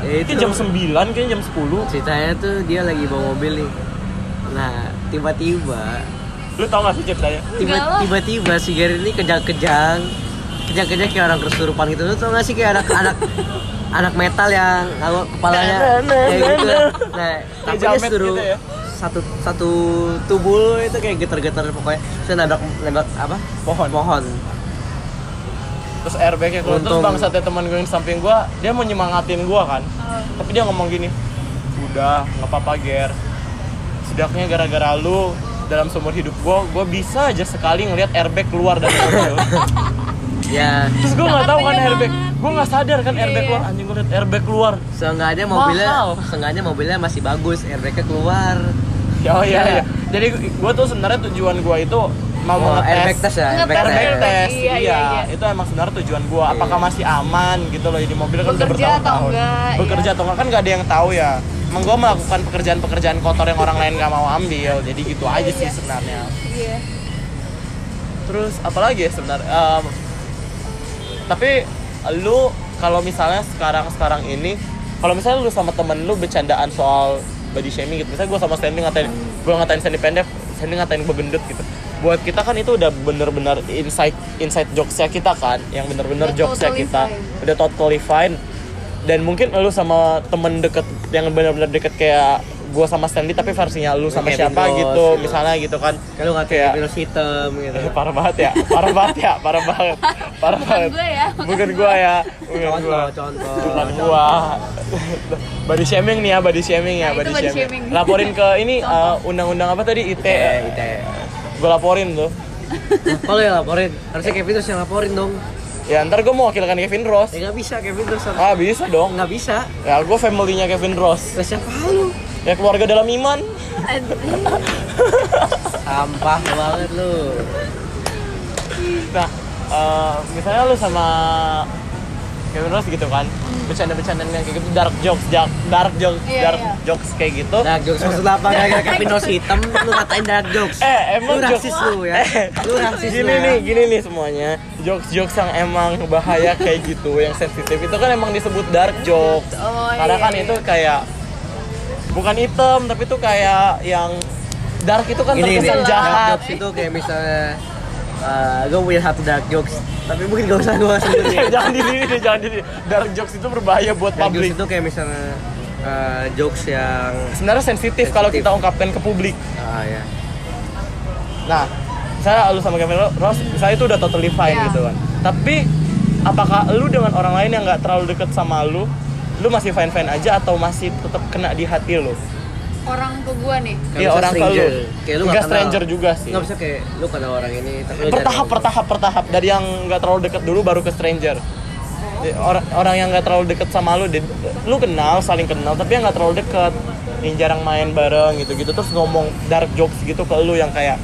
[SPEAKER 2] Ya,
[SPEAKER 1] itu jam 9 kayaknya jam 10
[SPEAKER 2] ceritanya tuh dia lagi bawa mobil nih nah tiba-tiba
[SPEAKER 1] Lu tau gak sih ceritanya?
[SPEAKER 3] Enggak
[SPEAKER 2] Tiba-
[SPEAKER 3] lah.
[SPEAKER 2] tiba-tiba si Gary ini kejang-kejang kejang-kejang kayak orang kesurupan gitu lu tau gak sih kayak anak
[SPEAKER 3] (laughs)
[SPEAKER 2] anak anak metal yang kalau kepalanya kayak gitu nah tapi dia
[SPEAKER 1] jamet
[SPEAKER 2] suruh
[SPEAKER 1] gitu ya.
[SPEAKER 2] satu satu tubuh itu kayak getar-getar pokoknya saya nabrak nabrak apa
[SPEAKER 1] Pohon.
[SPEAKER 2] pohon
[SPEAKER 1] Terus airbagnya keluar Terus
[SPEAKER 2] Untung.
[SPEAKER 1] bangsatnya teman gue yang di samping gue Dia mau nyemangatin gue kan Tapi dia ngomong gini Udah, gak apa-apa Ger Sedaknya gara-gara lu dalam seumur hidup gue, gue bisa aja sekali ngelihat airbag keluar dari mobil.
[SPEAKER 2] ya
[SPEAKER 1] Terus gue nggak
[SPEAKER 3] Sangat
[SPEAKER 1] tahu kan
[SPEAKER 3] penyemangat.
[SPEAKER 1] airbag, gue nggak sadar kan
[SPEAKER 3] Iya,
[SPEAKER 1] airbag
[SPEAKER 3] iya.
[SPEAKER 1] keluar. Anjing gue liat airbag keluar.
[SPEAKER 2] seenggaknya mobilnya
[SPEAKER 1] Mahal.
[SPEAKER 2] seenggaknya mobilnya masih bagus airbagnya keluar
[SPEAKER 1] Ya oh, iya
[SPEAKER 2] Iya.
[SPEAKER 1] iya. Jadi gue tuh sebenarnya tujuan gue itu mau
[SPEAKER 2] Oh,
[SPEAKER 1] ngetes
[SPEAKER 2] airbag test ya
[SPEAKER 3] Ngetes
[SPEAKER 1] airbag
[SPEAKER 3] Airbag
[SPEAKER 1] test.
[SPEAKER 3] test.
[SPEAKER 1] Iya,
[SPEAKER 3] Iya, iya, iya.
[SPEAKER 1] itu emang sebenarnya tujuan gue. Apakah
[SPEAKER 2] Iya.
[SPEAKER 1] masih aman gitu loh di mobil kan udah
[SPEAKER 3] Bekerja atau
[SPEAKER 1] bertahun-tahun.
[SPEAKER 3] enggak, iya.
[SPEAKER 1] Bekerja atau enggak kan nggak ada yang tahu ya. Emang gue melakukan pekerjaan-pekerjaan kotor yang orang lain nggak mau ambil. Jadi gitu aja sih
[SPEAKER 3] iya.
[SPEAKER 1] sebenarnya.
[SPEAKER 3] Iya. (laughs)
[SPEAKER 1] Terus apalagi ya sebenarnya? Em, tapi lu kalau misalnya sekarang sekarang ini, kalau misalnya lu sama temen lu bercandaan soal body shaming gitu, misalnya gue sama Sandy ngatain, gue ngatain Sandy pendek, Sandy ngatain gue gendut gitu. Buat kita kan itu udah bener-bener insight inside jokesnya kita kan, yang bener-bener
[SPEAKER 3] Udah
[SPEAKER 1] jokesnya
[SPEAKER 3] totally
[SPEAKER 1] kita
[SPEAKER 3] fine.
[SPEAKER 1] udah totally fine. Dan mungkin lu sama temen deket yang bener-bener deket kayak gue sama Stanley tapi versinya lu sama
[SPEAKER 2] Kayak
[SPEAKER 1] siapa
[SPEAKER 2] Big Boss
[SPEAKER 1] gitu
[SPEAKER 2] gitu.
[SPEAKER 1] misalnya gitu kan
[SPEAKER 2] kalau nggak kayak
[SPEAKER 1] Kayak-
[SPEAKER 2] virus hitam
[SPEAKER 1] (laughs)
[SPEAKER 2] gitu
[SPEAKER 1] Eh, parah banget ya, parah banget ya, parah banget, parah banget.
[SPEAKER 3] gue ya, bukan
[SPEAKER 1] bukan gue ya, bukan gue,
[SPEAKER 2] contoh contoh
[SPEAKER 1] bukan gue. Body shaming nih ya, body shaming ya,
[SPEAKER 3] Nah, itu
[SPEAKER 1] body,
[SPEAKER 3] body
[SPEAKER 1] shaming.
[SPEAKER 3] shaming.
[SPEAKER 1] Laporin ke ini eh, undang-undang apa tadi IT, (laughs)
[SPEAKER 2] Ite, ite.
[SPEAKER 1] gue laporin tuh.
[SPEAKER 2] Kalau yang laporin, harusnya Kevin terus yang laporin dong.
[SPEAKER 1] Ya ntar gue mewakilkan Kevin Ross.
[SPEAKER 2] Ya nggak bisa Kevin terus. yang-
[SPEAKER 1] Ah bisa dong.
[SPEAKER 2] Nggak bisa.
[SPEAKER 1] Ya gue family-nya Kevin Ross.
[SPEAKER 2] Ke siapa lu?
[SPEAKER 1] Ya keluarga dalam iman.
[SPEAKER 2] Sampah banget lu.
[SPEAKER 1] Nah, eh, misalnya lu sama Kevin Ross gitu kan, bercanda-bercandaan yang kayak gitu, dark jokes, dark, dark jokes,
[SPEAKER 3] Hmm. Iya,
[SPEAKER 1] dark
[SPEAKER 3] iya.
[SPEAKER 1] jokes kayak gitu.
[SPEAKER 2] Dark jokes maksud apa?
[SPEAKER 1] (laughs)
[SPEAKER 2] Gara-gara Kevin harus hitam, lu katain dark jokes.
[SPEAKER 1] Eh, emang
[SPEAKER 2] lu
[SPEAKER 1] jokes-
[SPEAKER 2] rasis lu ya.
[SPEAKER 1] Eh,
[SPEAKER 2] Lu rasis lu
[SPEAKER 1] gini
[SPEAKER 2] ya.
[SPEAKER 1] nih gini nih semuanya jokes jokes yang emang bahaya kayak gitu yang sensitif itu kan emang disebut dark jokes
[SPEAKER 3] Oh,
[SPEAKER 1] karena
[SPEAKER 3] iya,
[SPEAKER 1] kan
[SPEAKER 3] iya.
[SPEAKER 1] itu kayak bukan hitam tapi itu kayak yang dark itu kan
[SPEAKER 2] Gini nih,
[SPEAKER 1] terkesan
[SPEAKER 2] dark
[SPEAKER 1] jahat
[SPEAKER 2] jokes itu kayak misalnya eh gue punya satu dark jokes, tapi mungkin gak usah gue sendiri.
[SPEAKER 1] (laughs) jangan diri deh, jangan diri dark jokes itu berbahaya buat
[SPEAKER 2] Dark jokes
[SPEAKER 1] publik
[SPEAKER 2] itu kayak misalnya eh, jokes yang
[SPEAKER 1] sebenarnya sensitif kalau
[SPEAKER 2] Sensitif.
[SPEAKER 1] kita ungkapkan ke publik
[SPEAKER 2] ah ya.
[SPEAKER 1] Nah, misalnya lu sama Kevin Ro- Ross, misalnya itu udah totally fine
[SPEAKER 3] Iya.
[SPEAKER 1] gitu kan. Tapi apakah lu dengan orang lain yang nggak terlalu deket sama lu, lu masih fine fine aja atau masih tetap kena di hati lu?
[SPEAKER 3] Orang ke gua nih.
[SPEAKER 2] Nggak
[SPEAKER 1] Iya
[SPEAKER 2] bisa
[SPEAKER 1] orang ke lu.
[SPEAKER 2] stranger. Kayak lu nggak
[SPEAKER 1] Nggak
[SPEAKER 2] kenal.
[SPEAKER 1] stranger juga sih.
[SPEAKER 2] Nggak bisa kayak lu kenal orang ini tapi lu
[SPEAKER 1] Bertahap,
[SPEAKER 2] jarang-
[SPEAKER 1] bertahap, bertahap. Dari yang nggak terlalu deket dulu baru ke stranger. Di- Orang orang yang nggak terlalu deket sama lu, di- lu kenal, saling kenal, tapi yang nggak terlalu deket, yang jarang main bareng gitu-gitu, terus ngomong dark jokes gitu ke lu yang kayak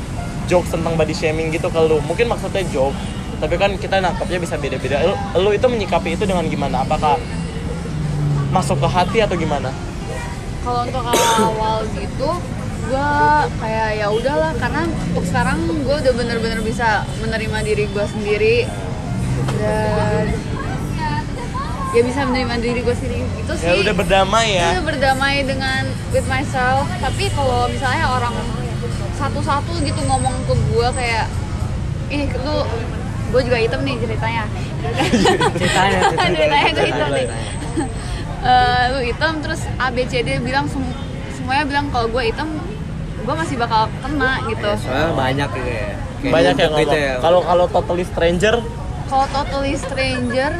[SPEAKER 1] jokes tentang body shaming gitu ke lu. Mungkin maksudnya joke, tapi kan kita nangkapnya bisa beda-beda. Lu, lu itu menyikapi itu dengan gimana? Apakah masuk ke hati atau gimana?
[SPEAKER 3] Kalau untuk awal gitu, gua kayak ya udahlah karena untuk sekarang gua udah bener-bener bisa menerima diri gua sendiri dan ya bisa menerima diri gua sendiri gitu sih.
[SPEAKER 1] Ya udah berdamai ya.
[SPEAKER 3] Itu berdamai dengan with myself tapi kalau misalnya orang satu-satu gitu ngomong ke gue kayak ih lu gue juga hitam nih ceritanya (laughs)
[SPEAKER 2] Ceritanya, ceritanya,
[SPEAKER 3] ceritanya itu hitam
[SPEAKER 2] ceritanya,
[SPEAKER 3] nih
[SPEAKER 2] ceritanya.
[SPEAKER 3] Eh, lu hitam terus ABCD bilang sem- semuanya bilang kalau gue hitam gue masih bakal kena gitu
[SPEAKER 2] Soalnya banyak gitu ya. Kayak
[SPEAKER 1] Banyak yang
[SPEAKER 2] numpuk gitu
[SPEAKER 1] ngomong.
[SPEAKER 2] ya.
[SPEAKER 1] Kalau kalau totally stranger,
[SPEAKER 3] kalau totally stranger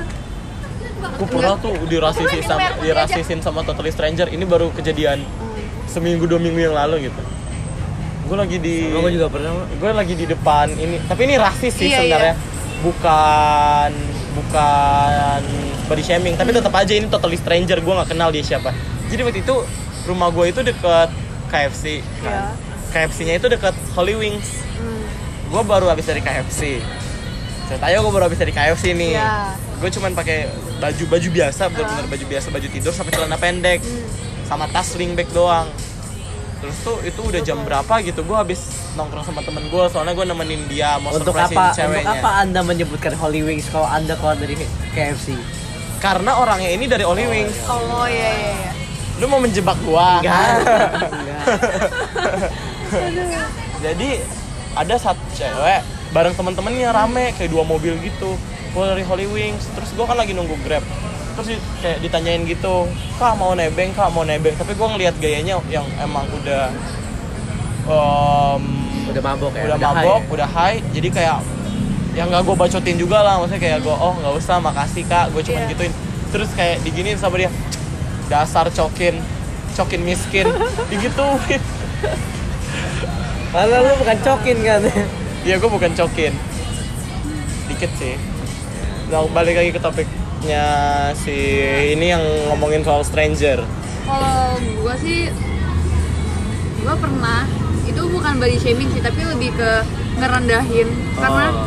[SPEAKER 1] Gue pernah tuh dirasisin
[SPEAKER 3] Coba minum
[SPEAKER 1] sama,
[SPEAKER 3] air putih
[SPEAKER 1] dirasisin sama totally stranger. Ini baru kejadian
[SPEAKER 3] mm,
[SPEAKER 1] seminggu dua minggu yang lalu gitu. Gue lagi di
[SPEAKER 2] Sama gua juga pernah
[SPEAKER 1] gue lagi di depan ini. Tapi ini rasis sih
[SPEAKER 3] Iya,
[SPEAKER 1] sebenarnya. Bukan bukan body shaming, tapi tetap aja ini totally stranger. Gue nggak kenal dia siapa. Jadi waktu itu rumah gue itu deket KFC.
[SPEAKER 3] ya.
[SPEAKER 1] kan. KFC-nya itu deket Holy Wings
[SPEAKER 3] hmm,
[SPEAKER 1] gue baru habis dari KFC ceritanya gue baru habis dari KFC nih
[SPEAKER 3] Iya.
[SPEAKER 1] gue cuman pakai baju baju biasa bener-bener baju biasa baju tidur sama celana pendek
[SPEAKER 3] Hmm.
[SPEAKER 1] sama tas sling bag doang terus tuh itu udah jam berapa gitu gue habis nongkrong sama temen gue soalnya gue nemenin dia mau
[SPEAKER 2] Untuk
[SPEAKER 1] surprisein
[SPEAKER 2] apa untuk
[SPEAKER 1] ceweknya
[SPEAKER 2] apa Anda menyebutkan Holy Wings kalau Anda keluar dari KFC?
[SPEAKER 1] karena orangnya ini dari Oli Wings
[SPEAKER 3] oh iya iya iya
[SPEAKER 1] lu mau (laughs) menjebak gua
[SPEAKER 2] Enggak. Enggak.
[SPEAKER 1] jadi ada satu cewek bareng temen-temennya rame kayak dua mobil gitu gue dari Holy Wings terus gue kan lagi nunggu grab terus di- kayak ditanyain gitu kak mau nebeng kak mau nebeng tapi gue ngelihat gayanya yang emang udah em,
[SPEAKER 2] Udah mabok ya?
[SPEAKER 1] udah
[SPEAKER 2] Udah high
[SPEAKER 1] mabok
[SPEAKER 2] ya?
[SPEAKER 1] udah high jadi kayak yang nggak gue bacotin juga lah maksudnya kayak gue oh nggak usah makasih kak gue cuman
[SPEAKER 3] Iya.
[SPEAKER 1] gituin terus kayak diginiin sama dia dasar cokin cokin miskin digituin
[SPEAKER 2] Padahal lu bukan cokin kan?
[SPEAKER 1] Iya, gue bukan cokin. Dikit sih. Nah, balik lagi ke topiknya si ini yang ngomongin soal stranger.
[SPEAKER 3] Kalau gue sih, gue pernah itu bukan body shaming sih, tapi lebih ke ngerendahin karena
[SPEAKER 2] Oh.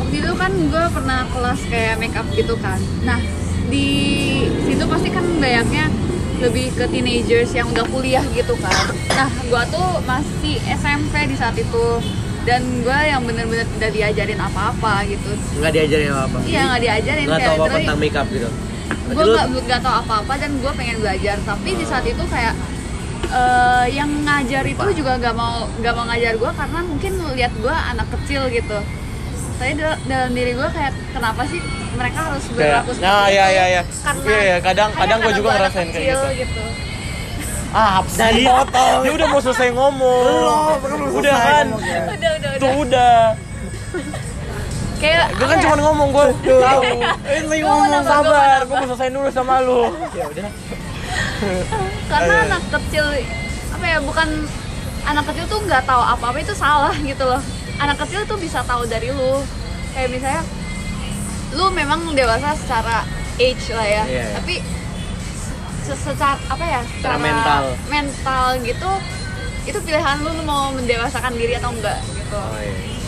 [SPEAKER 3] waktu itu kan gue pernah kelas kayak make up gitu kan. Nah di situ pasti kan banyaknya lebih ke teenagers yang udah kuliah gitu kan. Nah gue tuh masih SMP di saat itu dan gue yang bener-bener tidak diajarin apa-apa gitu.
[SPEAKER 2] Nggak diajarin apa-apa?
[SPEAKER 3] Iya nggak diajarin
[SPEAKER 2] Nggak tahu apa-apa
[SPEAKER 3] literally-
[SPEAKER 2] tentang makeup gitu?
[SPEAKER 3] gue nggak nggak tahu apa-apa dan gue pengen belajar tapi di saat itu kayak eh, yang ngajar itu juga nggak mau nggak mau ngajar gue karena mungkin lihat gue anak kecil gitu tapi dal- dalam diri gue kayak kenapa sih mereka harus
[SPEAKER 1] Kayak,
[SPEAKER 3] berlaku seperti
[SPEAKER 1] nah,
[SPEAKER 3] itu?
[SPEAKER 1] ya, ya, ya.
[SPEAKER 3] karena
[SPEAKER 1] Iya, ya, kadang-
[SPEAKER 3] hanya
[SPEAKER 1] kadang gua
[SPEAKER 3] karena
[SPEAKER 1] juga
[SPEAKER 3] gua anak
[SPEAKER 1] ngerasain kayak
[SPEAKER 3] kecil
[SPEAKER 1] gitu.
[SPEAKER 3] gitu (laughs)
[SPEAKER 1] Ah,
[SPEAKER 2] Dan
[SPEAKER 1] sih.
[SPEAKER 2] dipotong.
[SPEAKER 1] Dia udah mau selesai ngomong. udah kan.
[SPEAKER 3] udah udah
[SPEAKER 1] Tuh
[SPEAKER 3] udah
[SPEAKER 1] udah.
[SPEAKER 3] kayak
[SPEAKER 1] Gue kan
[SPEAKER 3] apa ya?
[SPEAKER 1] cuma ngomong gue (laughs) tahu. Eh, lagi
[SPEAKER 3] Gua mau
[SPEAKER 1] ngomong
[SPEAKER 3] nambah, gua mau
[SPEAKER 1] sabar.
[SPEAKER 3] nambah.
[SPEAKER 1] Gue mau selesai dulu sama lu. Ya udah.
[SPEAKER 3] karena
[SPEAKER 1] Ayo, ayo.
[SPEAKER 3] anak kecil apa ya bukan anak kecil tuh nggak tahu apa-apa itu salah (laughs) gitu loh anak kecil tuh bisa tahu dari lu kayak misalnya lu memang dewasa secara age lah ya
[SPEAKER 2] Iya, iya.
[SPEAKER 3] tapi se- secara apa ya
[SPEAKER 2] Secara mental.
[SPEAKER 3] mental gitu itu pilihan lu lu mau mendewasakan diri atau enggak gitu
[SPEAKER 2] Oh, iya.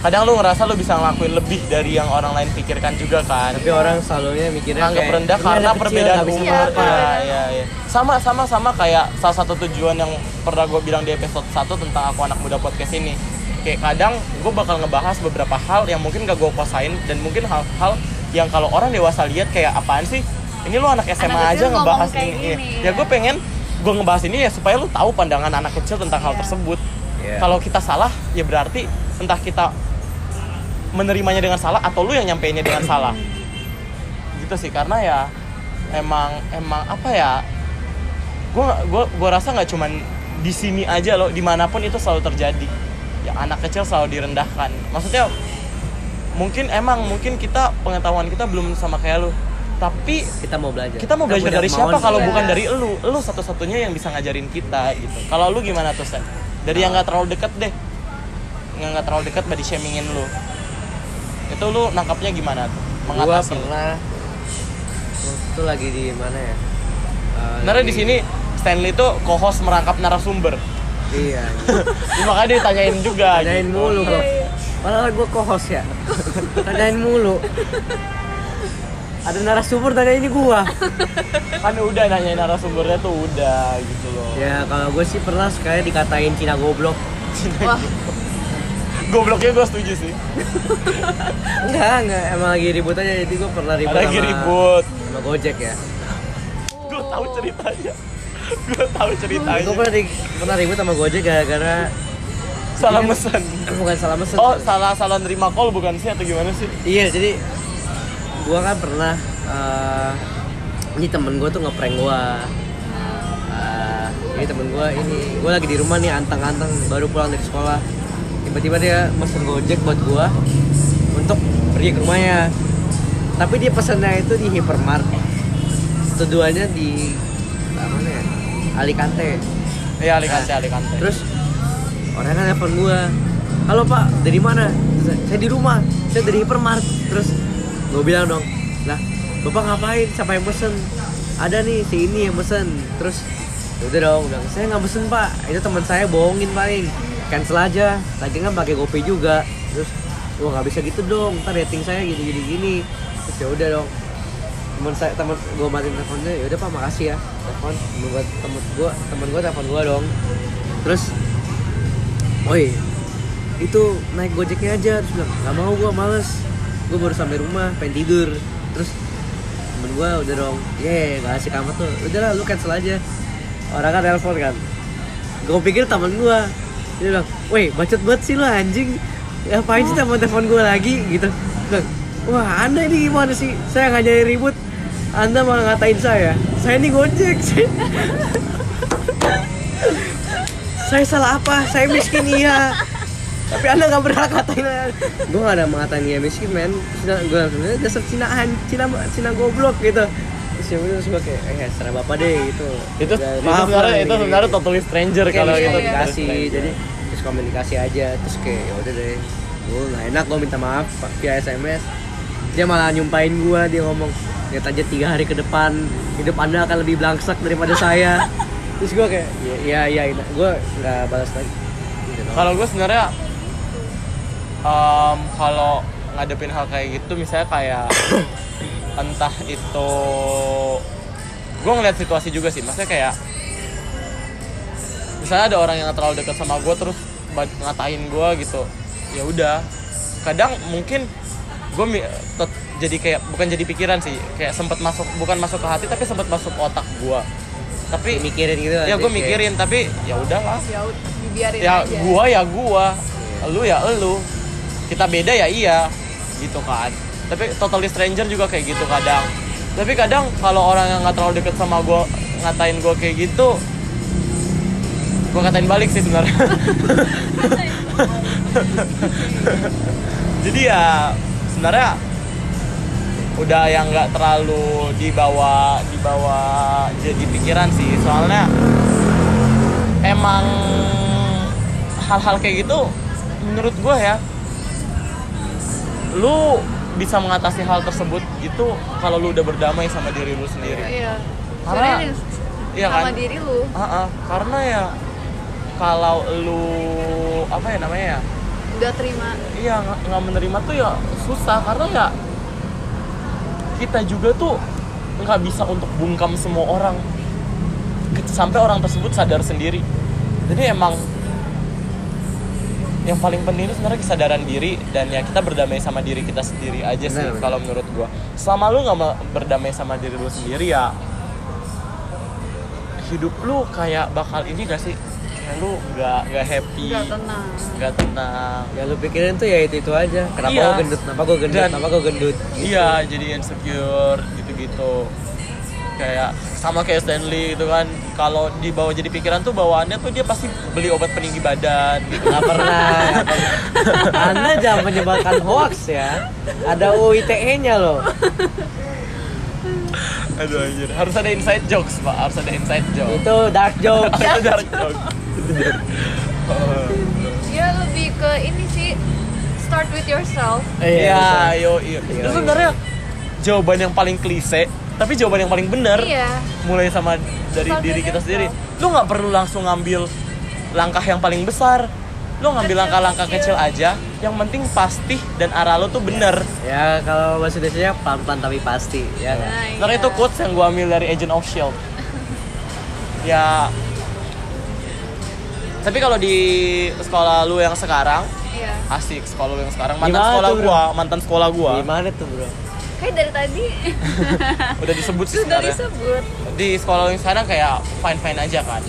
[SPEAKER 1] Kadang lu ngerasa lu bisa ngelakuin lebih dari yang orang lain pikirkan juga kan.
[SPEAKER 2] Tapi orang selalunya mikirnya
[SPEAKER 1] anggap
[SPEAKER 2] kayak,
[SPEAKER 1] rendah
[SPEAKER 2] "Ini
[SPEAKER 1] karena
[SPEAKER 2] anak kecil,
[SPEAKER 1] perbedaan
[SPEAKER 2] nggak bisa
[SPEAKER 1] umur.
[SPEAKER 3] apa-apa."
[SPEAKER 1] Iya,
[SPEAKER 2] apa-apa."
[SPEAKER 1] iya, iya. Sama sama sama kayak salah satu tujuan yang pernah gue bilang di episode 1 tentang aku anak muda podcast ini. Kayak kadang gue bakal ngebahas beberapa hal yang mungkin gak gue kuasain dan mungkin hal-hal yang kalau orang dewasa lihat kayak apaan sih? Ini lu anak SMA
[SPEAKER 3] Anak
[SPEAKER 1] aja
[SPEAKER 3] kecil ngomong
[SPEAKER 1] ngebahas
[SPEAKER 3] kayak
[SPEAKER 1] ini.
[SPEAKER 3] gini,
[SPEAKER 1] Ya,
[SPEAKER 3] ya.
[SPEAKER 1] gue pengen gue ngebahas ini ya supaya lu tahu pandangan anak kecil tentang hal
[SPEAKER 3] Iya.
[SPEAKER 1] tersebut.
[SPEAKER 2] Iya.
[SPEAKER 1] Kalau kita salah ya berarti entah kita menerimanya dengan salah atau lu yang nyampeinnya dengan salah gitu sih karena ya emang emang apa ya gua gua gua rasa nggak cuman di sini aja loh dimanapun itu selalu terjadi ya anak kecil selalu direndahkan maksudnya mungkin emang mungkin kita pengetahuan kita belum sama kayak lu tapi
[SPEAKER 2] Kita mau belajar.
[SPEAKER 1] kita mau belajar
[SPEAKER 2] punya
[SPEAKER 1] dari siapa
[SPEAKER 2] kemauan
[SPEAKER 1] kalau
[SPEAKER 2] sih.
[SPEAKER 3] juga.
[SPEAKER 1] bukan dari elu elu satu-satunya yang bisa ngajarin kita gitu kalau lu gimana tuh Sen? dari
[SPEAKER 2] Nah.
[SPEAKER 1] yang nggak terlalu deket deh yang nggak terlalu deket body shamingin lu itu lu nangkapnya gimana tuh
[SPEAKER 2] Gua
[SPEAKER 1] mengatasi
[SPEAKER 2] pernah waktu itu lagi di mana ya? Eh,
[SPEAKER 1] Sebenarnya di sini Stanley tuh co-host merangkap narasumber. (laughs)
[SPEAKER 2] Iya.
[SPEAKER 1] Ya, makanya ditanyain juga.
[SPEAKER 2] Tanyain
[SPEAKER 1] gitu.
[SPEAKER 2] mulu gua. Padahal gua co-host ya. (laughs) Tanyain mulu. Ada narasumber tanya ini gua.
[SPEAKER 1] Kan udah nanyain narasumbernya tuh udah gitu loh.
[SPEAKER 2] Ya kalau gue sih pernah sekali dikatain Cina goblok.
[SPEAKER 3] wah
[SPEAKER 1] Gobloknya gue setuju sih.
[SPEAKER 2] Enggak, enggak emang lagi ribut aja jadi gue pernah ribut.
[SPEAKER 1] Ada lagi
[SPEAKER 2] sama-
[SPEAKER 1] ribut.
[SPEAKER 2] Sama Gojek ya.
[SPEAKER 1] Gue tahu ceritanya. Gue tahu
[SPEAKER 2] Gue
[SPEAKER 1] ceritanya.
[SPEAKER 2] pernah di- pernah ribut sama Gojek gara-gara
[SPEAKER 1] Salah mesen.
[SPEAKER 2] bukan salah mesen.
[SPEAKER 1] Oh, salah salah nerima call bukan sih atau gimana sih?
[SPEAKER 2] Iya, jadi gua kan pernah eh, ini temen gue tuh ngeprank gua. Eh, ini temen gua ini gua lagi di rumah nih antang-antang baru pulang dari sekolah. Tiba-tiba dia pesen Gojek buat gua untuk pergi ke rumahnya. Tapi dia pesennya itu di hypermarket. Tujuannya di eh, mana ya? Alicante.
[SPEAKER 1] Iya, Alicante, Alicante.
[SPEAKER 2] Terus orangnya nelfon gua. Halo Pak, dari mana? Terus, saya di rumah. Saya dari hypermart. Terus gua bilang dong, lah Bapak ngapain? Siapa yang pesen? Ada nih si ini yang pesen. Terus "Ya udah dong, bilang saya nggak pesen Pak. Itu teman saya bohongin paling. Cancel aja. Lagi kan pakai GoPay juga. Terus wah nggak bisa gitu dong. Ntar rating saya gini gini gini. Terus ya udah dong teman saya teman gue matiin teleponnya ya udah pak makasih ya telepon temen gue temen gue temen gue telepon gue dong terus woi itu naik gojeknya aja terus bilang nggak mau gue males gue baru sampai rumah pengen tidur terus temen gue udah dong ye nggak asik amat tuh udah lah lu cancel aja orang kan telepon kan gue pikir temen gue
[SPEAKER 4] dia bilang weh bacot banget sih lo anjing ngapain sih telepon telepon gue lagi gitu Bilang, wah anda ini gimana sih saya nggak jadi ribut anda malah ngatain saya saya ini gojek sih (laughs) saya salah apa saya miskin iya tapi anda nggak berhak ngatain
[SPEAKER 2] gue gak ada mengatain dia miskin men Cina, gue langsung "Eh, dasar Cinaan, Cina, Cina goblok gitu Terus yang itu semua kayak, eh serah bapak deh gitu
[SPEAKER 1] itu
[SPEAKER 2] Udah,
[SPEAKER 1] maaf sebenarnya
[SPEAKER 2] udah,
[SPEAKER 1] itu
[SPEAKER 4] gitu.
[SPEAKER 2] gini-gini.
[SPEAKER 1] sebenarnya totally stranger
[SPEAKER 2] Kayak
[SPEAKER 1] kalau
[SPEAKER 2] harus
[SPEAKER 1] gitu
[SPEAKER 2] komunikasi jadi terus komunikasi aja terus kayak ya udah deh gue nggak enak gue minta maaf Pak, via sms dia malah nyumpain gue dia ngomong lihat aja tiga hari ke depan hidup anda akan lebih belangsak daripada saya (laughs) terus gue kayak ya ya, ya gue nggak balas lagi Gitu doang.
[SPEAKER 1] kalau gue sebenarnya em, kalau ngadepin hal kayak gitu misalnya kayak (coughs) entah itu gue ngeliat situasi juga sih maksudnya kayak misalnya ada orang yang terlalu dekat sama gue terus ba- ngatain gue gitu ya udah kadang mungkin gue jadi kayak bukan jadi pikiran sih kayak sempet masuk bukan masuk ke hati tapi sempet masuk ke otak gue tapi
[SPEAKER 2] Kayak mikirin gitu
[SPEAKER 1] ya
[SPEAKER 2] nanti
[SPEAKER 1] gue
[SPEAKER 2] kayak,
[SPEAKER 1] mikirin tapi ya udahlah
[SPEAKER 3] ya ud- dibiarin
[SPEAKER 1] ya
[SPEAKER 3] aja
[SPEAKER 1] gua ya gua lu ya elu kita beda ya iya gitu kan tapi totally stranger juga kayak gitu kadang tapi kadang kalau orang yang nggak terlalu deket sama gua ngatain gua kayak gitu gua katain balik sih sebenarnya (laughs) jadi ya sebenarnya udah yang nggak terlalu dibawa dibawa jadi pikiran sih soalnya emang hal-hal kayak gitu menurut gue ya lu bisa mengatasi hal tersebut itu kalau lu udah berdamai sama diri lu sendiri
[SPEAKER 3] iya
[SPEAKER 1] Karena-
[SPEAKER 3] Sebenarnya
[SPEAKER 1] iya
[SPEAKER 3] sama
[SPEAKER 1] kan?
[SPEAKER 3] diri lu
[SPEAKER 1] Ah, ah. karena ya kalau lu apa ya namanya ya
[SPEAKER 3] udah terima
[SPEAKER 1] iya nggak- nggak menerima tuh ya susah karena ya kita juga tuh nggak bisa untuk bungkam semua orang Ke- sampai orang tersebut sadar sendiri jadi emang yang paling penting itu sebenarnya kesadaran diri dan ya kita berdamai sama diri kita sendiri aja sih
[SPEAKER 2] Benar, benar.
[SPEAKER 1] kalau menurut gua selama lu nggak me- berdamai sama diri lu sendiri ya hidup lu kayak bakal ini gak sih kayak lu nggak nggak happy
[SPEAKER 3] udah tenang
[SPEAKER 1] nggak tenang
[SPEAKER 2] ya lu pikirin tuh ya itu itu aja kenapa
[SPEAKER 1] Iya.
[SPEAKER 2] gue gendut kenapa gue gendut
[SPEAKER 1] Dan-
[SPEAKER 2] kenapa gue gendut
[SPEAKER 1] Iya, jadi insecure gitu-gitu. Kayak sama kayak Stanley gitu kan. Kalau dibawa jadi pikiran tuh bawaannya tuh dia pasti beli obat peninggi badan gitu.
[SPEAKER 2] Gak pernah. nggak pernah. (laughs) Anda jangan menyebarkan hoax ya. Ada UITE-nya loh.
[SPEAKER 1] Aduh anjir. Harus ada inside jokes, Pak. Harus ada inside joke.
[SPEAKER 2] Itu dark joke.
[SPEAKER 1] Harus ada dark joke.
[SPEAKER 3] ya lebih ke ini sih start with yourself
[SPEAKER 1] Iya, yo yo.
[SPEAKER 2] Iya,
[SPEAKER 1] Itu
[SPEAKER 2] iya.
[SPEAKER 1] sebenarnya jawaban yang paling klise, tapi jawaban yang paling benar.
[SPEAKER 3] iya
[SPEAKER 1] mulai sama dari
[SPEAKER 3] Sampai
[SPEAKER 1] diri kita sendiri
[SPEAKER 3] nyesel.
[SPEAKER 1] lu nggak perlu langsung ngambil langkah yang paling besar lu ngambil
[SPEAKER 3] Kecil,
[SPEAKER 1] langkah-langkah
[SPEAKER 3] kecil.
[SPEAKER 1] kecil aja yang penting pasti dan arah lu tuh bener
[SPEAKER 2] Ya kalau bahasa Indonesia pelan-pelan tapi pasti ya kan?
[SPEAKER 3] nah,
[SPEAKER 1] Sebenarnya
[SPEAKER 3] iya.
[SPEAKER 1] itu quotes yang gua ambil dari Agent of Shield E (laughs) ya tapi kalau di sekolah lu yang sekarang
[SPEAKER 3] iya
[SPEAKER 1] asik sekolah lu yang sekarang mantan
[SPEAKER 2] Gimana
[SPEAKER 1] sekolah
[SPEAKER 2] tuh, bro?
[SPEAKER 1] gua mantan sekolah gua
[SPEAKER 2] Gimana tuh bro?
[SPEAKER 3] kayak dari
[SPEAKER 1] (laughs)
[SPEAKER 3] tadi
[SPEAKER 1] udah disebut sih
[SPEAKER 3] sudah
[SPEAKER 1] sebenarnya
[SPEAKER 3] disebut
[SPEAKER 1] di sekolah lu yang sekarang kayak fine fine aja kan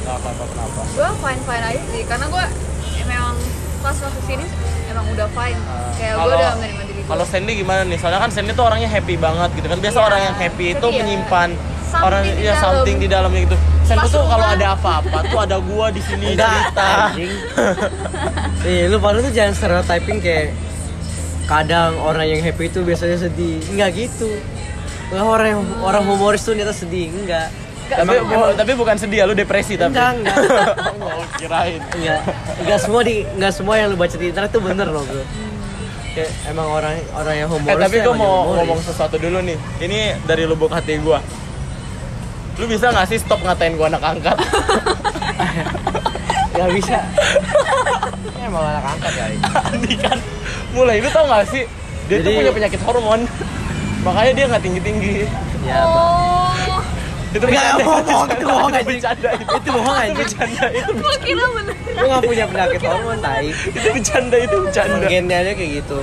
[SPEAKER 1] nggak apa-apa kenapa
[SPEAKER 3] gue fine fine aja sih karena gue memang pas masuk sini emang udah fine kayak gue
[SPEAKER 1] Kalau-
[SPEAKER 3] udah menerima diri gue
[SPEAKER 1] Kalau Sandy gimana nih? Soalnya kan Sandy tuh orangnya happy banget gitu kan. Biasa
[SPEAKER 3] Iya,
[SPEAKER 1] orang yang happy itu
[SPEAKER 3] ceria.
[SPEAKER 1] menyimpan
[SPEAKER 3] Something
[SPEAKER 1] orang
[SPEAKER 3] di
[SPEAKER 1] ya
[SPEAKER 3] dalam.
[SPEAKER 1] something di dalamnya gitu. Sandy
[SPEAKER 3] Pas
[SPEAKER 1] tuh kalau
[SPEAKER 3] keluar.
[SPEAKER 1] ada apa-apa tuh ada gua di sini cerita. (laughs)
[SPEAKER 2] anjing. Nih, lu baru tuh jangan stereotyping kayak kadang orang yang happy itu biasanya sedih. Enggak gitu. Nggak, orang yang- orang humoris tuh ternyata sedih, enggak.
[SPEAKER 1] Tapi bu- tapi bukan sedih ya, lu depresi tapi. (laughs)
[SPEAKER 2] Enggak, enggak.
[SPEAKER 1] Oh, kirain.
[SPEAKER 2] Enggak, enggak semua di enggak semua yang lu baca di internet tuh bener loh, Bro. Kayak emang orang orang yang humoris.
[SPEAKER 1] Eh tapi gua
[SPEAKER 2] tuh emang
[SPEAKER 1] mau
[SPEAKER 2] humoris.
[SPEAKER 1] ngomong sesuatu dulu nih. Ini dari lubuk hati gua. Lu bisa gak sih stop ngatain gua anak angkat? (laughs)
[SPEAKER 2] Enggak bisa. Ini emang anak angkat ya. kali.
[SPEAKER 1] Andi kan mulai lu tau gak sih? Dia tuh
[SPEAKER 2] Jadi-
[SPEAKER 1] punya penyakit hormon. (laughs) Makanya dia nggak tinggi-tinggi.
[SPEAKER 2] Ya, Bang.
[SPEAKER 3] oh (laughs)
[SPEAKER 1] Itu
[SPEAKER 2] Nggak,
[SPEAKER 1] bercanda.
[SPEAKER 2] bohong, itu bohong, anjing.
[SPEAKER 1] bercanda. Itu
[SPEAKER 2] Itu bohong anjing.
[SPEAKER 1] bercanda. Itu
[SPEAKER 3] gue kira bener
[SPEAKER 2] Lu enggak punya penyakit hormon tai.
[SPEAKER 1] itu bercanda itu bercanda
[SPEAKER 2] Gennya aja kayak gitu.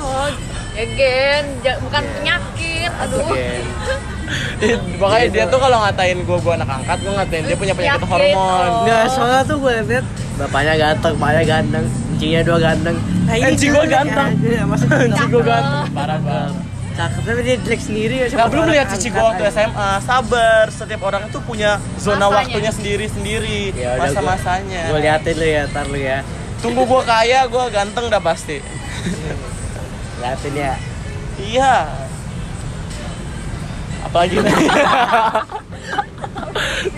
[SPEAKER 3] oh ya gen ja- bukan
[SPEAKER 1] Iya.
[SPEAKER 3] penyakit aduh
[SPEAKER 2] Gen.
[SPEAKER 1] Ih, makanya dia tuh kalau ngatain gue gue anak angkat gue ngatain dia punya penyakit
[SPEAKER 3] Penyakit,
[SPEAKER 1] hormon
[SPEAKER 3] oh.
[SPEAKER 2] Enggak, soalnya tuh gue liat bapaknya ganteng, bapaknya ganteng, encingnya dua ganteng. Nah, ini
[SPEAKER 1] Encing gua
[SPEAKER 2] jelek
[SPEAKER 1] ganteng.
[SPEAKER 2] aja, iya, maksudnya
[SPEAKER 1] Cici gue ganteng parah banget
[SPEAKER 2] Cakep tapi dia jelek sendiri ya.
[SPEAKER 1] Nah, belum lihat cici gue waktu SMA sabar setiap orang itu punya zona
[SPEAKER 3] Masanya.
[SPEAKER 1] waktunya sendiri sendiri
[SPEAKER 2] Ya,
[SPEAKER 1] masa-masanya
[SPEAKER 2] Gue liatin lu ya, ntar lu ya.
[SPEAKER 1] tunggu gue kaya gue ganteng dah pasti
[SPEAKER 2] Liatin ya.
[SPEAKER 1] iya
[SPEAKER 2] (laughs)
[SPEAKER 1] apalagi tadi?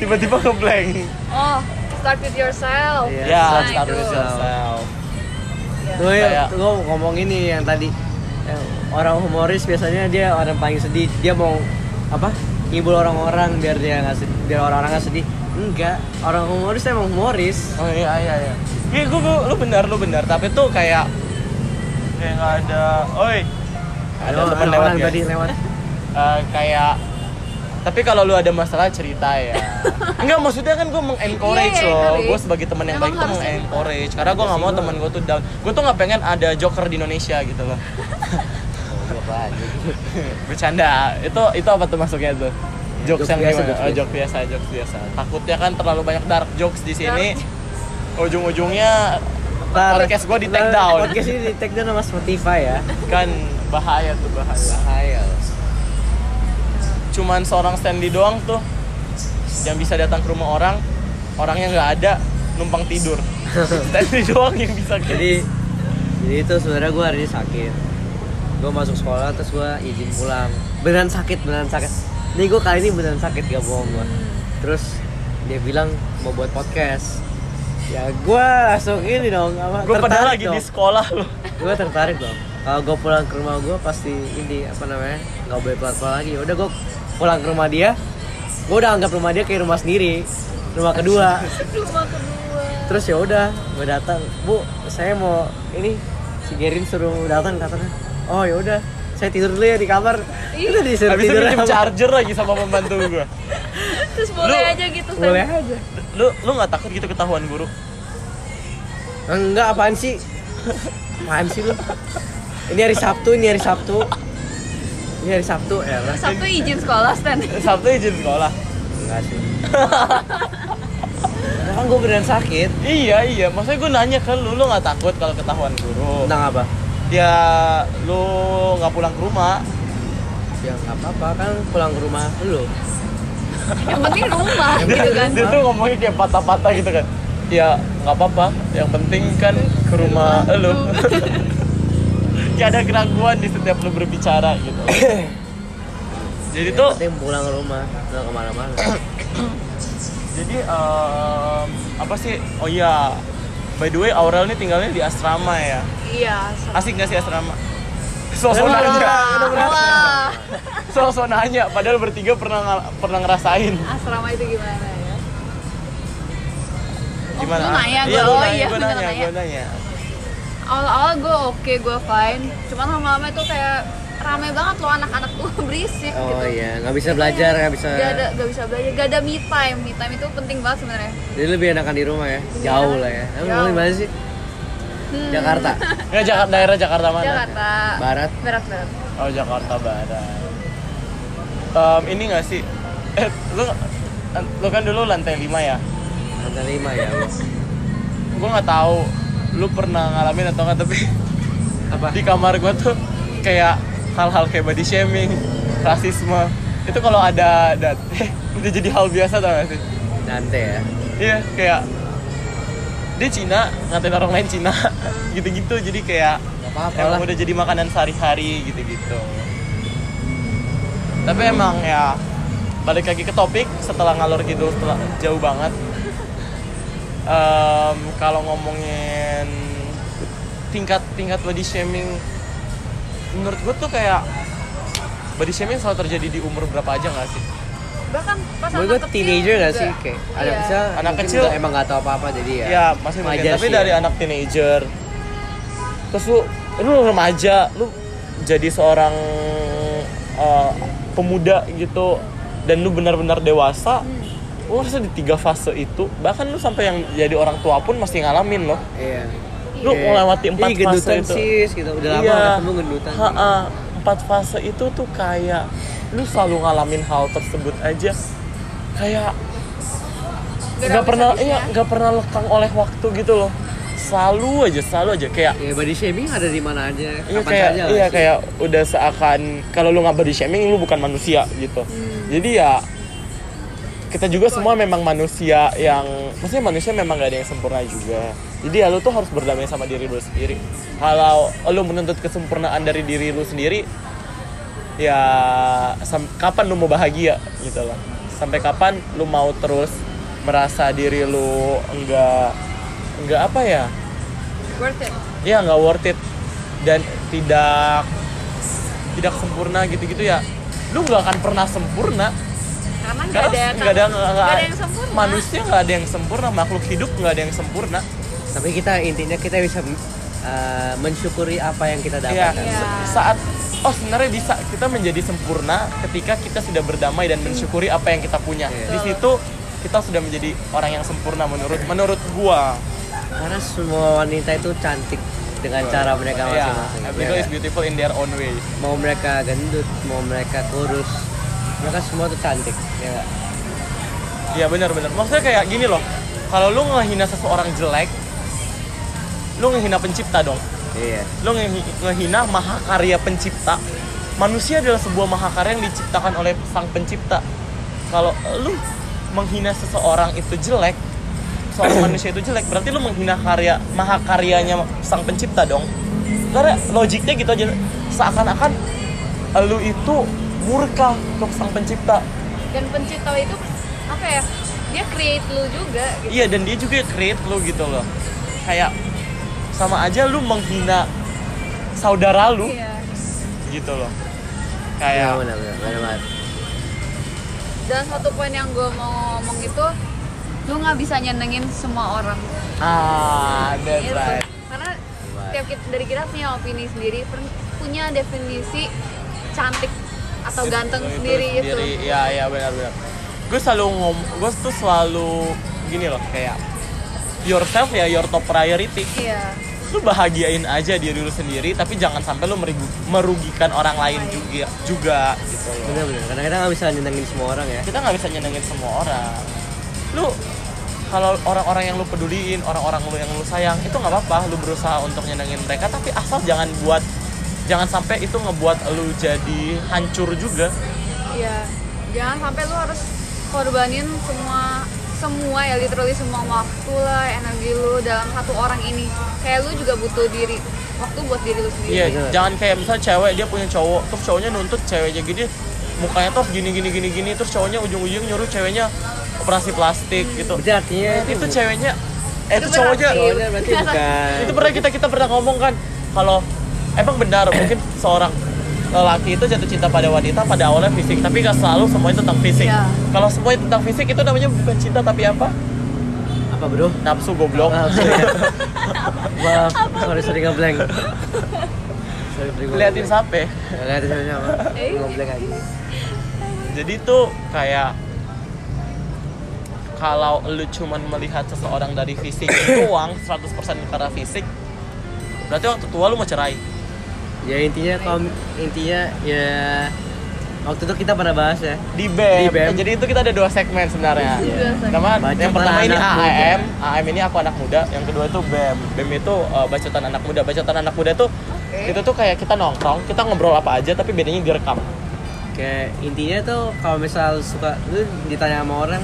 [SPEAKER 1] tiba-tiba ngeblank
[SPEAKER 3] Oh, start with yourself.
[SPEAKER 2] Iya.
[SPEAKER 1] ya
[SPEAKER 3] Nah,
[SPEAKER 1] start
[SPEAKER 3] itu.
[SPEAKER 1] with yourself
[SPEAKER 2] Gue
[SPEAKER 1] Kayak-
[SPEAKER 2] gue mau ngomong ini yang tadi eh, orang humoris biasanya dia orang paling sedih. Dia mau apa? Ngibul orang-orang biar dia nggak sedih, biar orang-orang nggak sedih. Enggak, orang humoris emang humoris.
[SPEAKER 1] Oh iya iya iya. Iya gua, gua- lu benar lu benar tapi tuh kayak kayak nggak ada. Oi. Ada
[SPEAKER 2] Aduh,
[SPEAKER 1] teman
[SPEAKER 2] ada
[SPEAKER 1] lewat ya?
[SPEAKER 2] orang
[SPEAKER 1] guys.
[SPEAKER 2] tadi lewat.
[SPEAKER 1] Eh, kayak tapi kalau lu ada masalah cerita
[SPEAKER 3] (laughs)
[SPEAKER 1] ya. Enggak maksudnya kan gue mengencourage
[SPEAKER 3] Iya,
[SPEAKER 1] loh.
[SPEAKER 3] encourage.
[SPEAKER 1] Gue sebagai teman yang
[SPEAKER 3] Emang
[SPEAKER 1] baik tuh
[SPEAKER 3] harus Iya
[SPEAKER 1] mengencourage karena gue nggak mau teman gue tuh down. Gue tuh nggak pengen ada joker di Indonesia gitu loh. Bercanda. Itu itu apa tuh masuknya tuh? Jokes
[SPEAKER 2] Jokes
[SPEAKER 1] yang
[SPEAKER 2] biasa,
[SPEAKER 1] gimana?
[SPEAKER 2] jokes
[SPEAKER 1] Oh, jokes biasa, jokes biasa. Takutnya kan terlalu banyak dark jokes di sini.
[SPEAKER 3] Dark
[SPEAKER 1] Ujung-ujungnya
[SPEAKER 2] Ntar-
[SPEAKER 1] podcast gua di take
[SPEAKER 2] ntar
[SPEAKER 1] down.
[SPEAKER 2] Podcast ini di take down sama Spotify ya.
[SPEAKER 1] kan bahaya tuh bahaya
[SPEAKER 2] Ayo.
[SPEAKER 1] cuman seorang Stanley doang tuh yang bisa datang ke rumah orang orangnya nggak ada numpang (laughs) tidur Stanley doang yang bisa kayak gitu.
[SPEAKER 2] Jadi jadi itu sebenarnya gue hari ini sakit. Gue masuk sekolah terus gue izin pulang. Beneran sakit, beneran sakit. Nih gue kali ini beneran sakit gak bohong gue. Terus dia bilang mau buat podcast. Ya gue langsung ini dong.
[SPEAKER 1] gue padahal lagi di sekolah loh
[SPEAKER 2] Gue tertarik dong. Kalau gue pulang ke rumah gue pasti ini apa namanya nggak boleh pulang-pulang lagi. Udah gue pulang ke rumah dia. Gue udah anggap rumah dia kayak rumah sendiri. Rumah kedua.
[SPEAKER 3] Rumah kedua.
[SPEAKER 2] terus ya udah gue datang bu saya mau ini si Gerin suruh datang katanya oh ya udah saya tidur dulu ya di kamar itu disuruh
[SPEAKER 1] habis itu
[SPEAKER 2] tidur
[SPEAKER 1] pinjem
[SPEAKER 2] sama-
[SPEAKER 1] charger lagi sama pembantu gue
[SPEAKER 3] Terus boleh
[SPEAKER 1] Lu-
[SPEAKER 3] aja gitu Stan.
[SPEAKER 2] boleh aja
[SPEAKER 1] lu lu nggak takut gitu ketahuan guru
[SPEAKER 2] enggak apaan sih apaan sih lu ini hari Sabtu ini hari Sabtu ini hari Sabtu ya lah
[SPEAKER 3] Sabtu izin sekolah Stan.
[SPEAKER 1] (laughs) sabtu izin sekolah
[SPEAKER 2] enggak sih Karena kan gue beneran sakit
[SPEAKER 1] iya iya maksudnya gue nanya ke lu lu nggak takut kalau ketahuan guru
[SPEAKER 3] Nah.
[SPEAKER 2] tentang apa
[SPEAKER 1] ya lu nggak pulang ke rumah
[SPEAKER 2] ya nggak apa-apa kan pulang ke rumah lu
[SPEAKER 3] Yang penting rumah gitu kan.
[SPEAKER 1] dia tuh ngomongnya kayak patah-patah gitu kan ya nggak apa-apa yang penting kan ke rumah
[SPEAKER 3] (laughs)
[SPEAKER 1] lu kayak ada keraguan di setiap lu berbicara
[SPEAKER 3] (coughs)
[SPEAKER 1] gitu jadi
[SPEAKER 2] Yang
[SPEAKER 1] tuh
[SPEAKER 2] penting pulang ke rumah nggak kemana-mana
[SPEAKER 1] jadi em, apa sih oh iya by the way Aurel nih tinggalnya di asrama ya
[SPEAKER 3] Iya. Stan.
[SPEAKER 1] asik nggak sih asrama
[SPEAKER 3] Wah,
[SPEAKER 1] suasananya
[SPEAKER 3] wah.
[SPEAKER 1] suasananya padahal bertiga pernah ngal- pernah ngerasain
[SPEAKER 3] Asrama itu gimana ya? Oh,
[SPEAKER 1] gimana
[SPEAKER 3] lu nanya,
[SPEAKER 1] iya,
[SPEAKER 3] gua-
[SPEAKER 1] lu
[SPEAKER 3] oh
[SPEAKER 1] nanya,
[SPEAKER 3] iya,
[SPEAKER 1] gua
[SPEAKER 3] bener
[SPEAKER 1] nanya,
[SPEAKER 3] nanya.
[SPEAKER 1] gua nanya.
[SPEAKER 3] Awal-awal gue oke, gue fine. Cuman lama-lama itu kayak rame banget loh anak-anak tuh (laughs) berisik
[SPEAKER 2] oh
[SPEAKER 3] gitu.
[SPEAKER 2] iya nggak bisa belajar nggak bisa
[SPEAKER 3] Gak ada, gak bisa belajar, gak ada me time. Me time itu penting banget sebenarnya.
[SPEAKER 2] Jadi lebih enakan di rumah ya, jauh lah ya. Emang
[SPEAKER 3] Jauh.
[SPEAKER 2] lu di mana sih?
[SPEAKER 3] Hmm, (laughs)
[SPEAKER 2] Jakarta,
[SPEAKER 1] Nggak, Jakarta daerah Jakarta mana?
[SPEAKER 3] Jakarta.
[SPEAKER 2] Barat.
[SPEAKER 3] Berat-berat.
[SPEAKER 1] Oh Jakarta Barat. Em, ini nggak sih? Eh, lu lu kan dulu lantai 5 ya?
[SPEAKER 2] Lantai lima ya. bos.
[SPEAKER 1] Gue nggak tahu lu pernah ngalamin atau nggak tapi
[SPEAKER 2] Apa?
[SPEAKER 1] di kamar gue tuh kayak hal-hal kayak body shaming, rasisme itu kalau ada dat (laughs) udah jadi hal biasa tau gak sih?
[SPEAKER 2] Dante ya.
[SPEAKER 1] Iya kayak dia Cina ngatain orang lain Cina (laughs) gitu-gitu jadi kayak
[SPEAKER 2] Gak apa-apa lah.
[SPEAKER 1] emang udah jadi makanan sehari-hari gitu-gitu tapi emang ya balik lagi ke topik setelah ngalor gitu setelah jauh banget Em, kalau ngomongin tingkat tingkat body shaming menurut gue tuh kayak body shaming selalu terjadi di umur berapa aja nggak sih
[SPEAKER 3] Bahkan pas
[SPEAKER 2] Menurut gue
[SPEAKER 3] anak kecil
[SPEAKER 2] teenager gak
[SPEAKER 3] juga.
[SPEAKER 2] sih? Kayak anak
[SPEAKER 3] Iya.
[SPEAKER 2] kecil,
[SPEAKER 1] Anak
[SPEAKER 2] mungkin
[SPEAKER 1] kecil-
[SPEAKER 2] nggak- emang gak tau apa-apa jadi ya.
[SPEAKER 1] ya masih mungkin
[SPEAKER 2] Wajar
[SPEAKER 1] tapi
[SPEAKER 2] sih
[SPEAKER 1] dari
[SPEAKER 2] ya.
[SPEAKER 1] anak teenager terus lu lu remaja lu jadi seorang eh, pemuda gitu dan lu benar-benar dewasa lu harusnya di tiga fase itu bahkan lu sampai yang jadi orang tua pun masih ngalamin loh
[SPEAKER 2] Iya.
[SPEAKER 1] lu
[SPEAKER 2] Iya.
[SPEAKER 1] melewati
[SPEAKER 2] Ih,
[SPEAKER 1] empat fase
[SPEAKER 2] gendutan
[SPEAKER 1] itu
[SPEAKER 2] sis gitu. Udah lama
[SPEAKER 1] Iya.
[SPEAKER 2] gak ketemu gendutan.
[SPEAKER 1] Ha-ha. empat fase itu tuh kayak lu selalu ngalamin hal tersebut aja kayak
[SPEAKER 3] gerak
[SPEAKER 1] nggak pernah
[SPEAKER 3] habis-habisnya.
[SPEAKER 1] iya nggak pernah lekang oleh waktu gitu loh selalu aja selalu aja kayak
[SPEAKER 2] ya body shaming ada di mana aja
[SPEAKER 1] Iya
[SPEAKER 2] kapan
[SPEAKER 1] kayak
[SPEAKER 2] saja lah
[SPEAKER 1] iya
[SPEAKER 2] sih.
[SPEAKER 1] kayak udah seakan kalau lu nggak body shaming lu bukan manusia gitu.
[SPEAKER 2] Hmm.
[SPEAKER 1] Jadi ya kita juga semua memang manusia yang maksudnya manusia memang gak ada yang sempurna juga. Jadi ya lu tuh harus berdamai sama diri lu sendiri. Kalau lu menuntut kesempurnaan dari diri lu sendiri ya sam- kapan lu mau bahagia gitu loh. Sampai kapan lu mau terus merasa diri lu enggak enggak apa ya?
[SPEAKER 3] worth it
[SPEAKER 1] ya nggak worth it dan tidak tidak sempurna gitu-gitu ya lu nggak akan pernah sempurna
[SPEAKER 3] karena nggak
[SPEAKER 1] karena
[SPEAKER 3] ada
[SPEAKER 1] nggak ada nggak-
[SPEAKER 3] nggak
[SPEAKER 1] nggak-
[SPEAKER 3] ada yang sempurna
[SPEAKER 1] manusia nggak ada yang sempurna makhluk hidup nggak ada yang sempurna
[SPEAKER 2] tapi kita intinya kita bisa uh, mensyukuri apa yang kita
[SPEAKER 1] ya
[SPEAKER 2] dapatkan
[SPEAKER 3] Iya.
[SPEAKER 1] sa- saat oh sebenarnya bisa kita menjadi sempurna ketika kita sudah berdamai dan mensyukuri apa yang kita punya di
[SPEAKER 3] Betul.
[SPEAKER 1] situ kita sudah menjadi orang yang sempurna menurut menurut gua
[SPEAKER 2] karena semua wanita itu cantik dengan cara mereka
[SPEAKER 1] ya
[SPEAKER 2] masing-masing ya
[SPEAKER 1] everybody is
[SPEAKER 2] nggak?
[SPEAKER 1] beautiful in their own way
[SPEAKER 2] mau mereka gendut mau mereka kurus mereka semua tuh cantik ya nggak?
[SPEAKER 1] Iya benar-benar. Maksudnya kayak gini loh. Kalau lu ngehina seseorang jelek, lu ngehina pencipta dong.
[SPEAKER 2] iya
[SPEAKER 1] Lu ngehi- ngehina mahakarya pencipta. Manusia adalah sebuah mahakarya yang diciptakan oleh sang pencipta. Kalau lu menghina seseorang itu jelek, seorang manusia itu jelek, berarti lu menghina karya mahakaryanya sang pencipta dong. Karena logiknya gitu aja seakan-akan lu itu murka untuk sang pencipta.
[SPEAKER 3] dan pencipta itu apa ya dia create lu juga gitu
[SPEAKER 1] Iya dan dia juga create lu gitu loh Kayak sama aja lu menghina saudara lu
[SPEAKER 3] Iya.
[SPEAKER 1] gitu loh
[SPEAKER 2] ya
[SPEAKER 1] Kayak
[SPEAKER 2] benar benar benar banget.
[SPEAKER 3] dan satu poin yang gue mau ngomong itu lu nggak bisa nyenengin semua orang
[SPEAKER 1] ah that's
[SPEAKER 3] Gitu.
[SPEAKER 1] right
[SPEAKER 3] karena tiap kita, dari kita punya opini sendiri per- punya definisi cantik atau ganteng
[SPEAKER 1] Itu-
[SPEAKER 3] sendiri itu,
[SPEAKER 1] Iya iya benar-benar. Gue selalu ngom, gue tuh selalu gini loh kayak yourself ya your top priority.
[SPEAKER 3] iya
[SPEAKER 1] Lu bahagiain aja diri lu sendiri tapi jangan sampai lu merigu- merugikan orang lain
[SPEAKER 3] Lain.
[SPEAKER 1] juga juga gitu loh.
[SPEAKER 2] benar benar karena kita nggak bisa nyenengin semua orang ya
[SPEAKER 1] kita nggak bisa nyenengin semua orang lu kalau orang-orang yang lu peduliin orang-orang lu yang lu sayang itu nggak apa-apa lu berusaha untuk nyenengin mereka tapi asal jangan buat jangan sampai itu ngebuat lu jadi hancur juga
[SPEAKER 3] iya jangan sampai lu harus korbanin semua semua ya literally semua waktu lah energi lu dalam satu orang ini kayak lu juga butuh diri waktu buat diri lu sendiri
[SPEAKER 1] iya
[SPEAKER 2] bener.
[SPEAKER 1] jangan kayak misalnya cewek dia punya cowok terus cowoknya nuntut ceweknya gini mukanya tuh gini gini gini gini terus cowoknya ujung-ujung nyuruh ceweknya operasi plastik gitu
[SPEAKER 2] berarti artinya itu,
[SPEAKER 1] itu ceweknya eh itu
[SPEAKER 3] Itu Iya. berat
[SPEAKER 1] cowoknya
[SPEAKER 3] sih.
[SPEAKER 2] cowoknya berarti bukan
[SPEAKER 1] itu pernah kita kita pernah ngomong kan kalau emang benar mungkin seorang lelaki itu jatuh cinta pada wanita pada awalnya fisik tapi nggak selalu semuanya tentang fisik
[SPEAKER 3] Iya.
[SPEAKER 1] kalau semuanya tentang fisik itu namanya bukan cinta tapi apa
[SPEAKER 2] ya. apa bro
[SPEAKER 1] nafsu goblok
[SPEAKER 2] maaf (laughs) sorry. maaf sorry sorry ngeblank sorry sorry gua
[SPEAKER 1] liatin
[SPEAKER 2] ngeblank.
[SPEAKER 1] sampai
[SPEAKER 2] liatin sama sama
[SPEAKER 3] Eh.
[SPEAKER 2] ngeblank aja
[SPEAKER 1] jadi tuh kayak kalau lu cuman melihat seseorang dari fisik doang 100% karena fisik berarti waktu tua lu mau cerai
[SPEAKER 2] ya intinya kom intinya ya waktu itu kita pernah bahas ya
[SPEAKER 1] di BEM.
[SPEAKER 2] Di BEM.
[SPEAKER 1] Eh, Jadi itu kita ada dua segmen sebenarnya.
[SPEAKER 3] Dua segmen.
[SPEAKER 1] Nama
[SPEAKER 2] Bacotan
[SPEAKER 1] yang pertama ini
[SPEAKER 2] anak
[SPEAKER 1] AAM, AAM ini aku anak muda. Yang kedua itu BEM. BEM itu uh, bacotan anak muda. Bacotan anak muda tuh
[SPEAKER 3] Oke.
[SPEAKER 1] itu tuh kayak kita nongkrong, kita ngobrol apa aja tapi bedanya direkam.
[SPEAKER 2] kayak intinya tuh kalau misal suka lu ditanya sama orang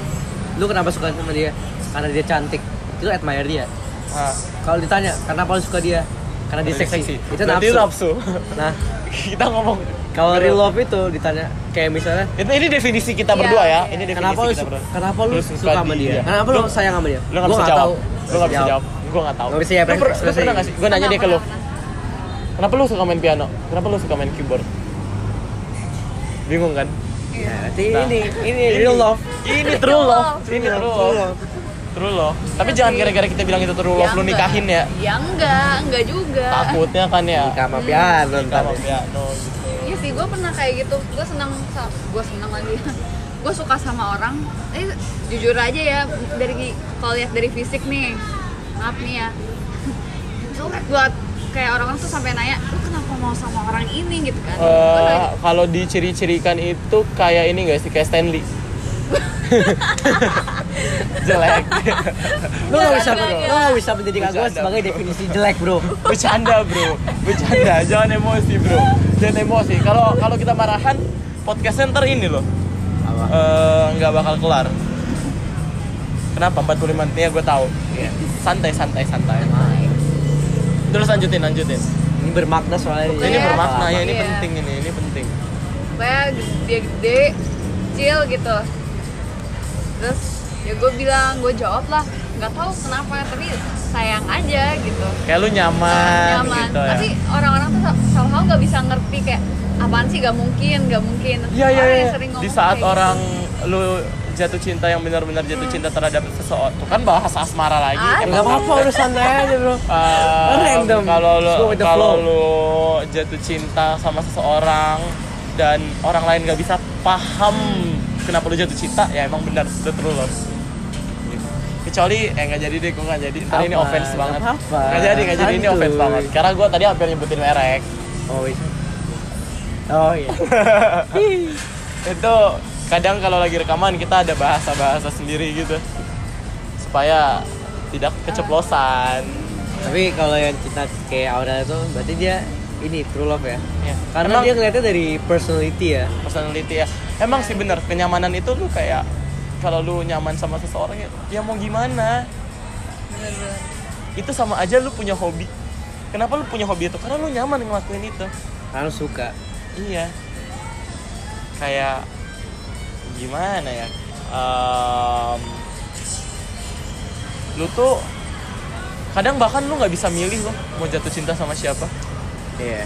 [SPEAKER 2] lu kenapa suka sama dia karena dia cantik itu admire dia
[SPEAKER 1] Nah,
[SPEAKER 2] kalau ditanya kenapa lu suka dia karena dia
[SPEAKER 1] berarti
[SPEAKER 2] seksi, itu
[SPEAKER 1] Berarti nafsu.
[SPEAKER 2] nafsu.
[SPEAKER 1] (laughs)
[SPEAKER 2] nah
[SPEAKER 1] kita ngomong
[SPEAKER 2] kalau real love itu ditanya kayak misalnya
[SPEAKER 1] Itu ini definisi kita
[SPEAKER 3] Iya,
[SPEAKER 1] berdua ya.
[SPEAKER 3] iya.
[SPEAKER 1] Ini definisi
[SPEAKER 2] kenapa lu
[SPEAKER 1] kita
[SPEAKER 2] su-
[SPEAKER 1] berdua.
[SPEAKER 2] kenapa lu
[SPEAKER 1] Lu
[SPEAKER 2] suka,
[SPEAKER 1] suka
[SPEAKER 2] sama dia?
[SPEAKER 1] dia.
[SPEAKER 2] Kenapa lu
[SPEAKER 1] iya. Lu-
[SPEAKER 2] sayang sama dia?
[SPEAKER 1] Lu nggak
[SPEAKER 2] Gua
[SPEAKER 1] bisa
[SPEAKER 2] nggak
[SPEAKER 1] jawab.
[SPEAKER 2] tahu. Nah,
[SPEAKER 1] Lu nggak bisa jawab. Gua nggak tahu.
[SPEAKER 2] Nggak bisa ya,
[SPEAKER 1] Lu per- Lu
[SPEAKER 2] ekspresi.
[SPEAKER 1] pernah nggak sih? Gua nanya
[SPEAKER 3] Pernah,
[SPEAKER 1] dia ke lu.
[SPEAKER 3] pernah, pernah.
[SPEAKER 1] Kenapa lu suka main piano? Kenapa lu suka main keyboard? Bingung kan?
[SPEAKER 2] Ya, berarti
[SPEAKER 1] Nah.
[SPEAKER 2] ini ini real love.
[SPEAKER 1] Ini true love.
[SPEAKER 3] love.
[SPEAKER 1] Ini true love. True love. Tapi jangan gara-gara kita bilang itu true love lu
[SPEAKER 3] enggak.
[SPEAKER 1] nikahin ya.
[SPEAKER 3] ya enggak enggak juga
[SPEAKER 1] Takutnya kan ya.
[SPEAKER 2] Nikah sama piano
[SPEAKER 1] Nikah
[SPEAKER 2] ntar.
[SPEAKER 1] sama piano gitu.
[SPEAKER 3] Iya sih, gue pernah kayak gitu. Gue seneng, gue seneng lagi. (laughs) gue suka sama orang. Eh, jujur aja ya, dari kalau lihat dari fisik nih, maaf nih ya. (laughs) Jelek buat kayak orang tuh sampai nanya, lu kenapa mau sama orang ini gitu
[SPEAKER 1] Eh,
[SPEAKER 3] kan? Gua nanya,
[SPEAKER 1] kalau diciri-cirikan itu kayak ini guys, sih? Kayak Stanley. (laughs) jelek
[SPEAKER 2] Lo gak bisa,
[SPEAKER 3] Enggak, enggak,
[SPEAKER 2] lo gak bisa mendidik
[SPEAKER 1] Bercanda,
[SPEAKER 2] aku sebagai
[SPEAKER 1] bro.
[SPEAKER 2] definisi jelek bro
[SPEAKER 1] bercanda bro bercanda jangan emosi bro jangan emosi kalau kalau kita marahan podcastnya ntar ini loh Eh, nggak bakal kelar kenapa 45 menit ya gue tahu santai santai santai terus lanjutin lanjutin
[SPEAKER 2] Ini bermakna soalnya
[SPEAKER 1] ini
[SPEAKER 3] Iya.
[SPEAKER 1] bermakna ya ini
[SPEAKER 3] Iya.
[SPEAKER 1] penting ini ini penting
[SPEAKER 3] Pokoknya dia gede, kecil gitu Terus ya gue bilang, gue jawab lah Gak tahu kenapa, tapi sayang aja gitu
[SPEAKER 1] kayak lu nyaman,
[SPEAKER 3] Nyaman
[SPEAKER 1] gitu ya
[SPEAKER 3] Tapi orang-orang tuh somehow gak bisa ngerti kayak Apaan sih gak mungkin, gak mungkin
[SPEAKER 1] Iya iya
[SPEAKER 3] Orang
[SPEAKER 1] iya.
[SPEAKER 3] yang sering ngomong
[SPEAKER 1] Di saat
[SPEAKER 3] kayak gitu.
[SPEAKER 1] orang lu jatuh cinta yang benar-benar jatuh cinta terhadap seseorang, tuh kan bahas asmara lagi.
[SPEAKER 3] Ah,
[SPEAKER 1] Emang
[SPEAKER 2] Gak apa-apa udah santai aja bro
[SPEAKER 1] eh,
[SPEAKER 2] Random.
[SPEAKER 1] Kalau lu
[SPEAKER 2] Just go with the
[SPEAKER 1] kalau
[SPEAKER 2] flow.
[SPEAKER 1] lu jatuh cinta sama seseorang dan orang lain gak bisa paham kenapa lu jatuh cinta, ya emang benar the true love. Gitu. Kecuali eh nggak jadi deh, gue nggak jadi. Ntar ini
[SPEAKER 2] Apa?
[SPEAKER 1] offense
[SPEAKER 2] Nggak
[SPEAKER 1] banget.
[SPEAKER 2] apa-apa.
[SPEAKER 1] Nggak jadi, nggak jadi ini
[SPEAKER 2] Santuy.
[SPEAKER 1] offense banget. Karena gue tadi hampir nyebutin merek.
[SPEAKER 2] Oh iya Oh iya
[SPEAKER 1] itu kadang kalau lagi rekaman kita ada bahasa-bahasa sendiri gitu supaya tidak keceplosan
[SPEAKER 2] Tapi kalau yang cinta kayak Aura itu berarti dia ini true love ya
[SPEAKER 1] ya.
[SPEAKER 2] Karena
[SPEAKER 1] emang
[SPEAKER 2] dia ngeliatnya dari personality ya
[SPEAKER 1] personality ya emang sih bener kenyamanan itu lu kayak kalau lu nyaman sama seseorang ya, ya mau gimana
[SPEAKER 3] Bener-bener.
[SPEAKER 1] itu sama aja lu punya hobi kenapa lu punya hobi itu karena lu nyaman ngelakuin itu
[SPEAKER 2] Karena suka
[SPEAKER 1] Iya. Kayak gimana ya? Em, lu tuh kadang bahkan lu nggak bisa milih lo mau jatuh cinta sama siapa.
[SPEAKER 2] Iya.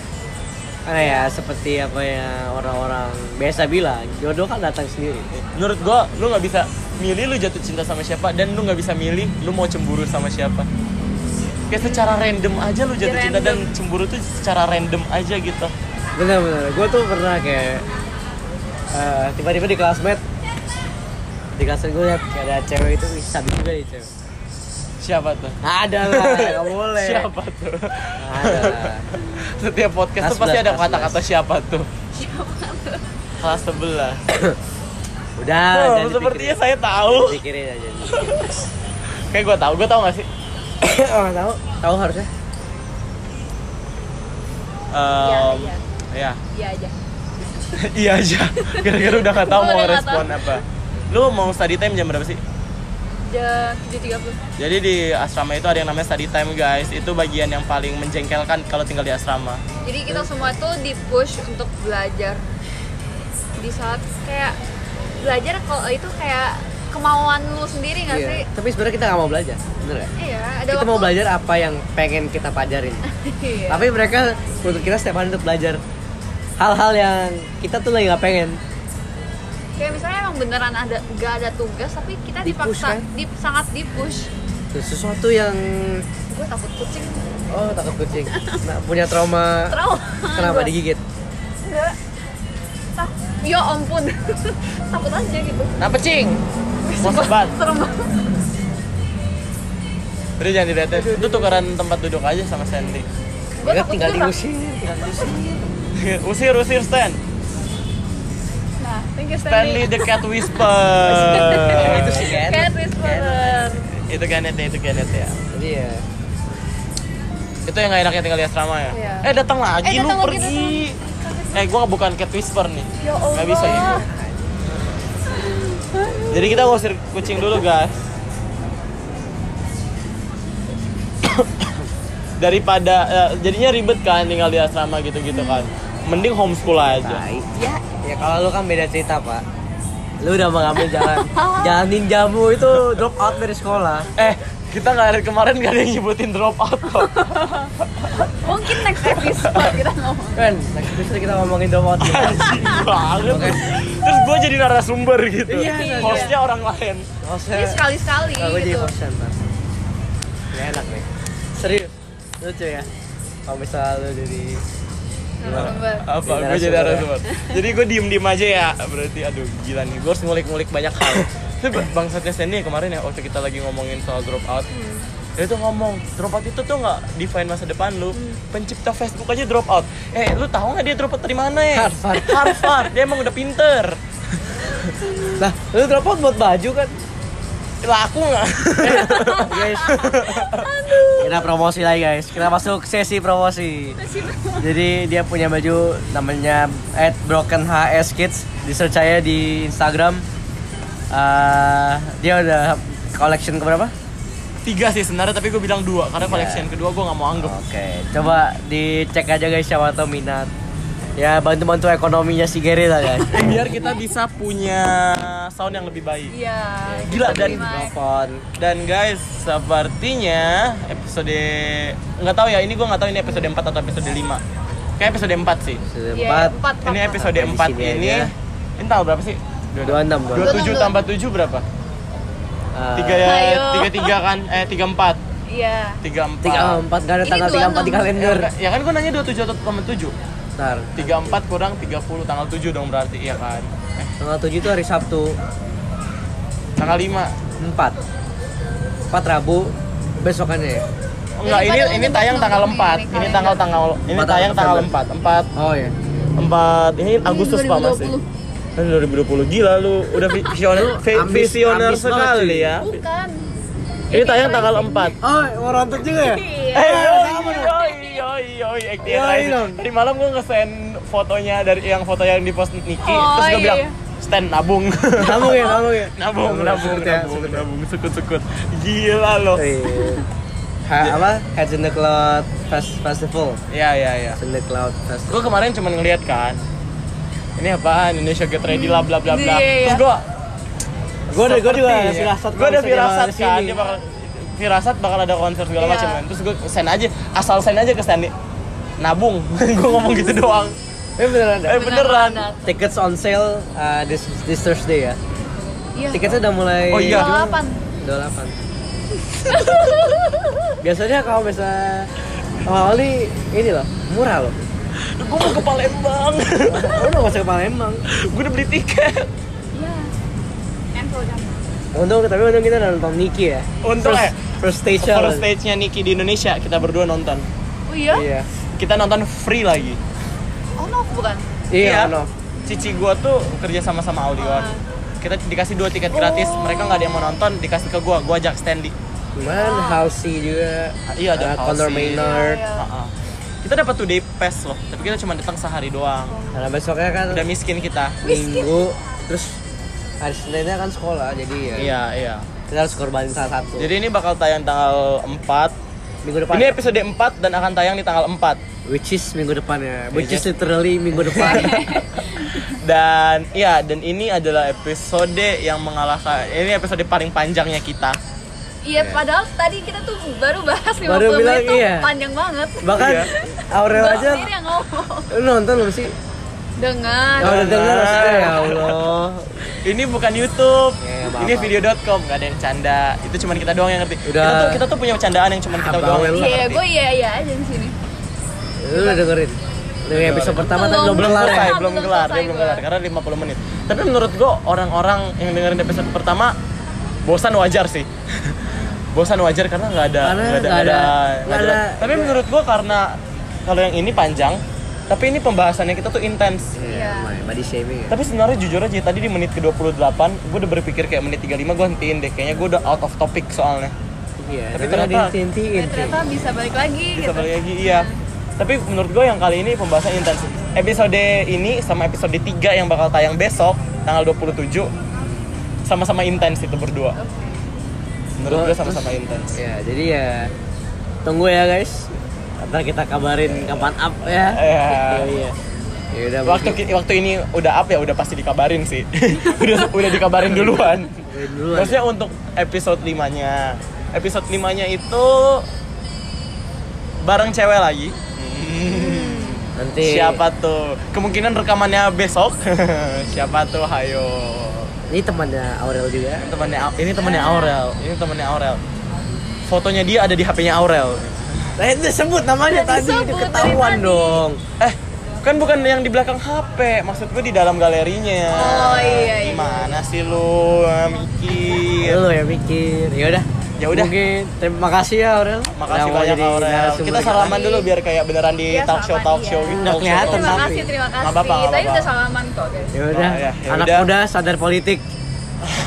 [SPEAKER 2] Karena ya seperti apa ya orang-orang biasa bilang, jodoh kan datang sendiri.
[SPEAKER 1] Menurut gua lu nggak bisa milih lu jatuh cinta sama siapa dan lu nggak bisa milih lu mau cemburu sama siapa. Kayak secara random aja lu jatuh cinta dan
[SPEAKER 3] Random.
[SPEAKER 1] cemburu tuh secara random aja gitu.
[SPEAKER 2] Benar-benar. Gue tuh pernah kayak eh, tiba-tiba di kelas med di kelas gue liat kayak ada cewek itu bisa juga nih cewek.
[SPEAKER 1] Siapa tuh?
[SPEAKER 2] Ada lah, nggak boleh.
[SPEAKER 1] Siapa tuh?
[SPEAKER 2] Ada lah.
[SPEAKER 1] Setiap podcast tuh
[SPEAKER 2] Kelas
[SPEAKER 1] pasti
[SPEAKER 2] 11,
[SPEAKER 1] ada
[SPEAKER 2] kelas
[SPEAKER 1] kata-kata siapa tuh. Kelas 11.
[SPEAKER 2] Udah,
[SPEAKER 1] Oh,
[SPEAKER 2] jangan
[SPEAKER 1] sepertinya
[SPEAKER 2] dipikirin.
[SPEAKER 1] saya tahu.
[SPEAKER 2] Pikirin aja.
[SPEAKER 1] Kayak gue tahu, gue tahu gak sih?
[SPEAKER 2] oh, tahu? Tahu harusnya.
[SPEAKER 1] Em,
[SPEAKER 3] Iya,
[SPEAKER 1] ya,
[SPEAKER 3] Iya aja
[SPEAKER 1] (laughs) iya aja. Gara-gara udah gak tahu
[SPEAKER 3] Gua
[SPEAKER 1] mau
[SPEAKER 3] udah nggak
[SPEAKER 1] respon
[SPEAKER 3] tahu.
[SPEAKER 1] apa. Lu mau study time jam berapa sih?
[SPEAKER 3] Jam 7.30
[SPEAKER 1] Jadi di asrama itu ada yang namanya study time guys. Itu bagian yang paling menjengkelkan kalau tinggal di asrama.
[SPEAKER 3] Jadi kita semua tuh di push untuk belajar. Di saat kayak belajar kalau itu kayak kemauan lu sendiri nggak
[SPEAKER 2] Iya.
[SPEAKER 3] sih?
[SPEAKER 2] Tapi sebenarnya kita nggak mau belajar, bener ya?
[SPEAKER 3] Iya, ada
[SPEAKER 2] Kita
[SPEAKER 3] waktu.
[SPEAKER 2] mau belajar apa yang pengen kita pelajarin.
[SPEAKER 3] (laughs) Iya.
[SPEAKER 2] Tapi mereka untuk kita setiap hari untuk belajar hal-hal yang kita tuh lagi nggak pengen.
[SPEAKER 3] kayak misalnya emang beneran ada nggak ada tugas tapi kita
[SPEAKER 2] Di-push,
[SPEAKER 3] dipaksa
[SPEAKER 2] kan?
[SPEAKER 3] di, sangat di push.
[SPEAKER 2] Tuh, Sesuatu yang
[SPEAKER 3] Gue takut kucing.
[SPEAKER 2] oh takut kucing. Nah, punya trauma
[SPEAKER 3] Trauma.
[SPEAKER 2] kenapa
[SPEAKER 3] Gua-
[SPEAKER 2] digigit?
[SPEAKER 3] Enggak. Tak, ya ampun. (laughs) takut aja gitu.
[SPEAKER 1] Kenapa, Cing? Mau sebat?
[SPEAKER 3] Serem banget.
[SPEAKER 1] Udah jangan dilihatin. Itu tukeran tempat duduk aja sama Sandy. (laughs)
[SPEAKER 3] Gue
[SPEAKER 2] Mereka Ya,
[SPEAKER 3] takut
[SPEAKER 2] kan, tinggal
[SPEAKER 3] gerak.
[SPEAKER 2] diusir, tinggal diusir.
[SPEAKER 1] usir, usir Stan.
[SPEAKER 3] Nah, thank you
[SPEAKER 1] Stanley
[SPEAKER 3] Stanley.
[SPEAKER 1] the Cat Whisper.
[SPEAKER 3] (laughs)
[SPEAKER 2] Itu sih kan.
[SPEAKER 3] Cat whisperer.
[SPEAKER 1] Itu Kenneth ya, itu Kenneth ya.
[SPEAKER 3] Iya.
[SPEAKER 2] Jadi ya
[SPEAKER 1] Itu yang gak enaknya tinggal di asrama ya?
[SPEAKER 3] Iya.
[SPEAKER 1] Eh datang lagi
[SPEAKER 3] Eh,
[SPEAKER 1] lu
[SPEAKER 3] datang lagi,
[SPEAKER 1] pergi. Eh gua bukan cat whisper nih.
[SPEAKER 3] Ya Allah.
[SPEAKER 1] Nggak bisa ya. Jadi kita ngusir kucing dulu guys. (coughs) Daripada eh, jadinya ribet kan tinggal di asrama gitu-gitu kan. Mending homeschool aja.
[SPEAKER 2] tai. Ya, ya kalau lu kan beda cerita, Pak. Lu udah mengambil jalan jalan ninjamu itu drop out dari sekolah.
[SPEAKER 1] Eh kita nggak ada kemarin gak ada yang nyebutin drop out kok. (laughs)
[SPEAKER 3] Mungkin next episode kita ngomong.
[SPEAKER 2] Kan, next episode kita ngomongin drop out. gitu.
[SPEAKER 1] (laughs) Anjing banget.
[SPEAKER 2] Oke.
[SPEAKER 1] Terus gue jadi narasumber gitu.
[SPEAKER 2] Iya,
[SPEAKER 1] Hostnya
[SPEAKER 2] iya.
[SPEAKER 1] orang lain.
[SPEAKER 3] Jadi
[SPEAKER 2] Hostnya
[SPEAKER 3] sekali-sekali
[SPEAKER 2] Aku jadi
[SPEAKER 3] gitu.
[SPEAKER 2] host ntar Gak enak nih Serius Lucu ya Kalau misalnya lu jadi
[SPEAKER 3] Narasumber.
[SPEAKER 1] apa
[SPEAKER 2] Jadi
[SPEAKER 1] gue jadi
[SPEAKER 2] narasumber.
[SPEAKER 1] narasumber jadi gue diem diem aja ya berarti aduh gila nih gue harus ngulik ngulik banyak hal itu bangsatnya Sandy yang kemarin ya waktu kita lagi ngomongin soal drop out dia tuh ngomong drop out itu tuh nggak define masa depan lu pencipta Facebook aja drop out eh lu tahu nggak dia drop out dari mana ya
[SPEAKER 2] Harvard.
[SPEAKER 1] Harvard dia emang udah pinter
[SPEAKER 2] Nah lu drop out buat baju kan
[SPEAKER 1] laku nggak
[SPEAKER 2] guys kita promosi lagi guys kita masuk sesi promosi jadi dia punya baju namanya at broken hs kids di search saya di instagram Eh, dia udah collection keberapa
[SPEAKER 1] (laughs) tiga sih sebenarnya tapi gue bilang dua karena
[SPEAKER 2] Iya.
[SPEAKER 1] collection kedua gue nggak mau anggap
[SPEAKER 2] oke coba dicek aja guys siapa tau minat ya bantu bantu ekonominya si Gary lah guys
[SPEAKER 1] biar kita bisa punya sound yang lebih baik
[SPEAKER 3] Iya.
[SPEAKER 1] Gila,
[SPEAKER 3] kita
[SPEAKER 1] dan-
[SPEAKER 3] terima.
[SPEAKER 2] telepon
[SPEAKER 1] dan guys sepertinya episode nggak tahu ya ini gue nggak tahu ini episode 4 atau episode 5 kayak episode 4 sih
[SPEAKER 3] Iya,
[SPEAKER 2] setempat
[SPEAKER 3] empat.
[SPEAKER 1] ini
[SPEAKER 3] empat.
[SPEAKER 1] episode
[SPEAKER 2] Sampai di
[SPEAKER 1] 4
[SPEAKER 2] sini
[SPEAKER 1] ini
[SPEAKER 2] aja.
[SPEAKER 1] ini tahu berapa sih
[SPEAKER 2] 26,
[SPEAKER 1] 27 tambah 7 berapa?
[SPEAKER 2] Eh,
[SPEAKER 1] tiga ya
[SPEAKER 3] Ayo.
[SPEAKER 1] tiga tiga kan eh tiga empat
[SPEAKER 3] Iya.
[SPEAKER 1] tiga empat
[SPEAKER 2] tiga empat gak ada
[SPEAKER 3] Ini
[SPEAKER 2] tanggal tiga empat di
[SPEAKER 3] 26.
[SPEAKER 2] kalender
[SPEAKER 1] ya kan gue nanya dua tujuh atau dua tujuh
[SPEAKER 2] ntar
[SPEAKER 1] tiga empat kurang tiga puluh tanggal tujuh dong berarti iya kan eh,
[SPEAKER 2] tanggal tujuh itu hari Sabtu
[SPEAKER 1] tanggal lima
[SPEAKER 2] empat empat Rabu besokannya ya?
[SPEAKER 1] enggak ini
[SPEAKER 3] Daripada
[SPEAKER 1] ini
[SPEAKER 3] lu
[SPEAKER 1] tayang
[SPEAKER 3] nonton
[SPEAKER 1] tanggal
[SPEAKER 3] ini ya.
[SPEAKER 1] empat
[SPEAKER 3] kalender.
[SPEAKER 1] ini tanggal tanggal ini
[SPEAKER 2] Empat
[SPEAKER 1] tayang tanggal
[SPEAKER 2] November.
[SPEAKER 1] empat empat
[SPEAKER 2] oh ya
[SPEAKER 1] empat ini Agustus pak masih
[SPEAKER 3] 2020.
[SPEAKER 1] kan 2020 gila lu udah visioner vi-
[SPEAKER 2] ambis-
[SPEAKER 1] visioner
[SPEAKER 2] ambis banget,
[SPEAKER 1] sekali
[SPEAKER 2] cuy.
[SPEAKER 1] ya
[SPEAKER 3] Bukan.
[SPEAKER 1] ini tayang tanggal empat
[SPEAKER 2] oh orang tuh (laughs) juga ya
[SPEAKER 1] Eh,
[SPEAKER 3] Iya.
[SPEAKER 1] yoi, yoi, yoi, yoi, acting
[SPEAKER 2] Yoi
[SPEAKER 1] rising.
[SPEAKER 2] dong.
[SPEAKER 1] Tadi malam gue ngesend fotonya dari yang foto yang di post Niki,
[SPEAKER 3] Oh,
[SPEAKER 1] terus gue
[SPEAKER 3] iya,
[SPEAKER 1] bilang
[SPEAKER 3] iya.
[SPEAKER 1] stand nabung. (laughs)
[SPEAKER 2] kamu ya kamu ya
[SPEAKER 1] nabung,
[SPEAKER 2] Nabung,
[SPEAKER 1] nabung,
[SPEAKER 2] sekut ya,
[SPEAKER 1] nabung,
[SPEAKER 2] sekut ya.
[SPEAKER 1] nabung, sekut-sekut. Gila loh.
[SPEAKER 2] Iya. Ha- apa Heads in the Cloud Fest- Festival
[SPEAKER 1] Iya, iya, iya.
[SPEAKER 2] Heads in the Cloud Festival
[SPEAKER 1] Gue kemarin cuma ngeliat kan. Ini apaan? Indonesia Get Ready lah bla bla bla.
[SPEAKER 3] Iya, iya.
[SPEAKER 1] Terus gue
[SPEAKER 2] gue udah gue juga firasat
[SPEAKER 1] Gue udah firasat kan,
[SPEAKER 2] sini
[SPEAKER 1] dia bakal firasat bakal ada konser segala
[SPEAKER 3] Iya.
[SPEAKER 1] macam kan. Terus gue send aja, asal send aja ke Stanley. Nabung, (laughs) gue ngomong gitu doang.
[SPEAKER 2] eh beneran ada
[SPEAKER 1] Eh beneran.
[SPEAKER 3] ada.
[SPEAKER 2] tickets on sale uh, this this Thursday ya
[SPEAKER 3] Iya.
[SPEAKER 2] tiketnya udah mulai
[SPEAKER 1] Oh, iya.
[SPEAKER 3] Delapan.
[SPEAKER 2] (laughs) 28 biasanya kalau misalnya awal ini ini loh murah (laughs) loh
[SPEAKER 1] Gue mau ke Palembang. (laughs)
[SPEAKER 2] Lu udah masuk ke Palembang
[SPEAKER 1] gue udah beli tiket
[SPEAKER 3] Iya. Info kan.
[SPEAKER 2] untung tapi untung kita udah nonton Niki ya
[SPEAKER 1] Untung
[SPEAKER 2] first,
[SPEAKER 1] ya.
[SPEAKER 2] first stage show
[SPEAKER 1] first stage nya Niki di Indonesia kita berdua nonton
[SPEAKER 3] Oh iya.
[SPEAKER 2] iya
[SPEAKER 1] kita nonton free lagi
[SPEAKER 3] Oh no, bukan.
[SPEAKER 2] iya
[SPEAKER 1] Iya.
[SPEAKER 2] no
[SPEAKER 1] cici gua tuh kerja sama sama Audion
[SPEAKER 3] Ah. Oh.
[SPEAKER 1] kita dikasih dua tiket gratis mereka nggak ada yang mau nonton dikasih ke gua gua ajak Stanley
[SPEAKER 2] Cuman Halsey juga
[SPEAKER 1] Ah. Iya, ada
[SPEAKER 2] uh, Connor
[SPEAKER 1] Halsey.
[SPEAKER 2] Maynard
[SPEAKER 3] Iya.
[SPEAKER 1] Ah, ah. kita dapat two day pass loh tapi kita cuma datang sehari doang
[SPEAKER 2] Karena besoknya kan
[SPEAKER 1] udah miskin kita
[SPEAKER 2] minggu Terus hari Seninnya kan sekolah jadi ya
[SPEAKER 1] iya iya
[SPEAKER 2] Kita harus korbanin salah satu
[SPEAKER 1] jadi ini bakal tayang tanggal 4
[SPEAKER 2] Minggu depan
[SPEAKER 1] ini episode 4 dan akan tayang di tanggal 4
[SPEAKER 2] Which is minggu depan ya Which
[SPEAKER 1] Iya.
[SPEAKER 2] is literally
[SPEAKER 1] (laughs)
[SPEAKER 2] minggu depan
[SPEAKER 1] Dan ya, dan ini adalah episode yang mengalahkan. Ini episode paling panjangnya kita.
[SPEAKER 3] Iya, padahal tadi kita tuh baru bahas 50
[SPEAKER 2] Baru bilang
[SPEAKER 3] menit tuh
[SPEAKER 2] iya.
[SPEAKER 3] panjang banget.
[SPEAKER 2] Bahkan
[SPEAKER 1] Iya.
[SPEAKER 2] Aurel
[SPEAKER 3] Gua
[SPEAKER 2] aja
[SPEAKER 3] sendiri yang ngomong.
[SPEAKER 2] Lu nonton belum sih?
[SPEAKER 3] Dengar.
[SPEAKER 2] Oh, udah denger maksudnya ya Allah
[SPEAKER 1] Ini bukan YouTube.
[SPEAKER 2] Ya, nggak
[SPEAKER 1] ini
[SPEAKER 2] apa-apa.
[SPEAKER 1] video.com, gak ada yang canda. Itu cuman kita doang yang ngerti.
[SPEAKER 2] Udah.
[SPEAKER 1] Kita tuh kita tuh punya candaan yang cuman kita
[SPEAKER 2] Ah,
[SPEAKER 1] doang.
[SPEAKER 2] bawel
[SPEAKER 1] yang
[SPEAKER 3] Iya,
[SPEAKER 1] ngerti.
[SPEAKER 3] gue iya iya aja di sini.
[SPEAKER 2] Lu udah dengerin? Dari episode pertama tadi belum
[SPEAKER 3] Belum.
[SPEAKER 1] belum
[SPEAKER 2] kelar ya?
[SPEAKER 1] selesai,
[SPEAKER 3] ya?
[SPEAKER 1] belum
[SPEAKER 3] Belum
[SPEAKER 1] kelar, dia
[SPEAKER 3] selesai
[SPEAKER 1] belum
[SPEAKER 3] gua.
[SPEAKER 1] kelar karena 50 menit. Tapi menurut gue orang-orang yang dengerin episode pertama bosan wajar sih. (laughs) bosan wajar karena nggak ada
[SPEAKER 2] Karena
[SPEAKER 1] nggak ada
[SPEAKER 2] nggak ada-
[SPEAKER 1] nggak
[SPEAKER 2] nggak ada-
[SPEAKER 1] Tapi menurut gue karena kalau yang ini panjang, tapi ini pembahasannya kita tuh intens.
[SPEAKER 2] Iya, lumayan. body shaming ya
[SPEAKER 1] Tapi sebenarnya jujur aja tadi di menit ke-28 gue udah berpikir kayak menit 35 gue hentiin deh kayaknya gue udah out of topic soalnya.
[SPEAKER 2] Iya,
[SPEAKER 1] Tapi
[SPEAKER 2] tapi ternyata
[SPEAKER 1] ternyata-
[SPEAKER 3] Ya,
[SPEAKER 2] diintiin
[SPEAKER 3] ternyata bisa balik lagi
[SPEAKER 1] Bisa
[SPEAKER 3] gitu.
[SPEAKER 1] balik lagi iya. Tapi menurut gue yang kali ini pembahasan intens. Episode ini sama episode 3 yang bakal tayang besok tanggal 27 sama-sama intens itu berdua. Menurut gue sama-sama intens.
[SPEAKER 2] Ya, jadi ya tunggu ya guys. Ntar kita kabarin kapan up ya.
[SPEAKER 1] Iya.
[SPEAKER 2] (laughs) Iya. Ya udah
[SPEAKER 1] Waktu ki- waktu ini udah up ya udah pasti dikabarin sih. (laughs) udah udah dikabarin duluan.
[SPEAKER 2] dulu.
[SPEAKER 1] Maksudnya untuk episode 5-nya. Episode 5-nya itu bareng cewek lagi.
[SPEAKER 2] Nanti
[SPEAKER 1] Siapa tuh? Kemungkinan rekamannya besok. (laughs) Siapa tuh? Hayo.
[SPEAKER 2] Ini temannya Aurel juga.
[SPEAKER 1] Ini temannya Au- ini temannya Aurel. Ini temannya Aurel. Fotonya dia ada di HP-nya Aurel.
[SPEAKER 2] Eh, itu sebut namanya
[SPEAKER 3] Udah
[SPEAKER 2] tadi
[SPEAKER 3] disebut
[SPEAKER 2] udah ketahuan
[SPEAKER 3] dari tadi.
[SPEAKER 2] dong.
[SPEAKER 1] Eh, kan bukan yang di belakang HP. Maksud gue di dalam galerinya.
[SPEAKER 3] Oh, iya, iya.
[SPEAKER 1] Gimana sih lu eh, mikir?
[SPEAKER 2] Lu ya mikir. Ya udah.
[SPEAKER 1] Iya. Ya udah.
[SPEAKER 2] Mungkin terima kasih ya Aurel.
[SPEAKER 1] Makasih
[SPEAKER 2] Udah mau
[SPEAKER 1] banyak
[SPEAKER 2] jadi
[SPEAKER 1] Aurel.
[SPEAKER 2] narasumber
[SPEAKER 1] Kita
[SPEAKER 2] kita.
[SPEAKER 1] salaman dulu biar kayak beneran di
[SPEAKER 3] Iya,
[SPEAKER 1] talk show
[SPEAKER 3] salaman,
[SPEAKER 1] talk
[SPEAKER 3] iya.
[SPEAKER 1] show gitu.
[SPEAKER 2] Udah
[SPEAKER 1] talk show, talk
[SPEAKER 2] kelihatan,
[SPEAKER 1] (laughs) show.
[SPEAKER 3] Terima
[SPEAKER 2] Santri.
[SPEAKER 3] kasih, terima
[SPEAKER 1] Nggak
[SPEAKER 3] kasih.
[SPEAKER 1] apa-apa, nggak
[SPEAKER 3] Tadi
[SPEAKER 1] apa-apa.
[SPEAKER 3] udah salaman kok, guys.
[SPEAKER 2] Ya udah.
[SPEAKER 1] Oh, iya. ya, ya
[SPEAKER 2] Anak
[SPEAKER 1] udah.
[SPEAKER 2] muda sadar politik.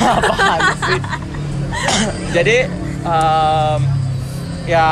[SPEAKER 1] Apaan sih? jadi em, ya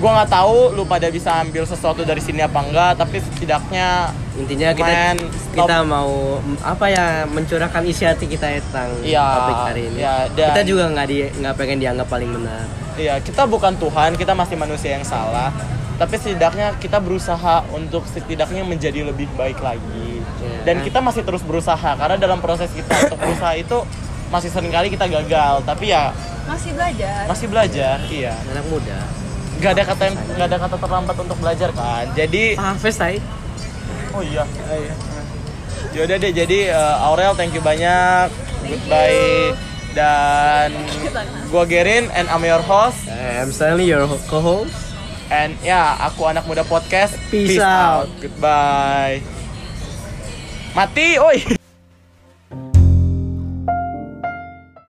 [SPEAKER 1] gue nggak tahu lu pada bisa ambil sesuatu dari sini apa enggak tapi setidaknya
[SPEAKER 2] Intinya kita
[SPEAKER 1] Lumayan, stop.
[SPEAKER 2] kita mau mm, apa ya mencurahkan isi hati kita ya, tentang
[SPEAKER 1] Iya,
[SPEAKER 2] topik hari ini.
[SPEAKER 1] iya, dan-
[SPEAKER 2] kita juga nggak di nggak pengen dianggap paling benar.
[SPEAKER 1] Iya, kita bukan Tuhan, kita masih manusia yang salah. Tapi setidaknya kita berusaha untuk setidaknya menjadi lebih baik lagi.
[SPEAKER 2] Iya.
[SPEAKER 1] Dan kita masih terus berusaha karena dalam proses kita untuk berusaha itu masih sering kali kita gagal. Tapi ya
[SPEAKER 3] Masih belajar.
[SPEAKER 1] masih belajar. Iya.
[SPEAKER 2] Anak muda.
[SPEAKER 1] Gak ada kata yang gak ada kata terlambat untuk belajar kan. Jadi
[SPEAKER 2] Hafiz tai.
[SPEAKER 1] oh iya. iya. Yaudah deh, jadi eh, Aurel thank you banyak.
[SPEAKER 3] Thank
[SPEAKER 1] Goodbye. Dan gua Gerin and I'm your host.
[SPEAKER 2] I'm Stanley your ho- co-host.
[SPEAKER 1] And ya, aku anak muda podcast.
[SPEAKER 2] Peace out.
[SPEAKER 1] Goodbye. Mati, oi.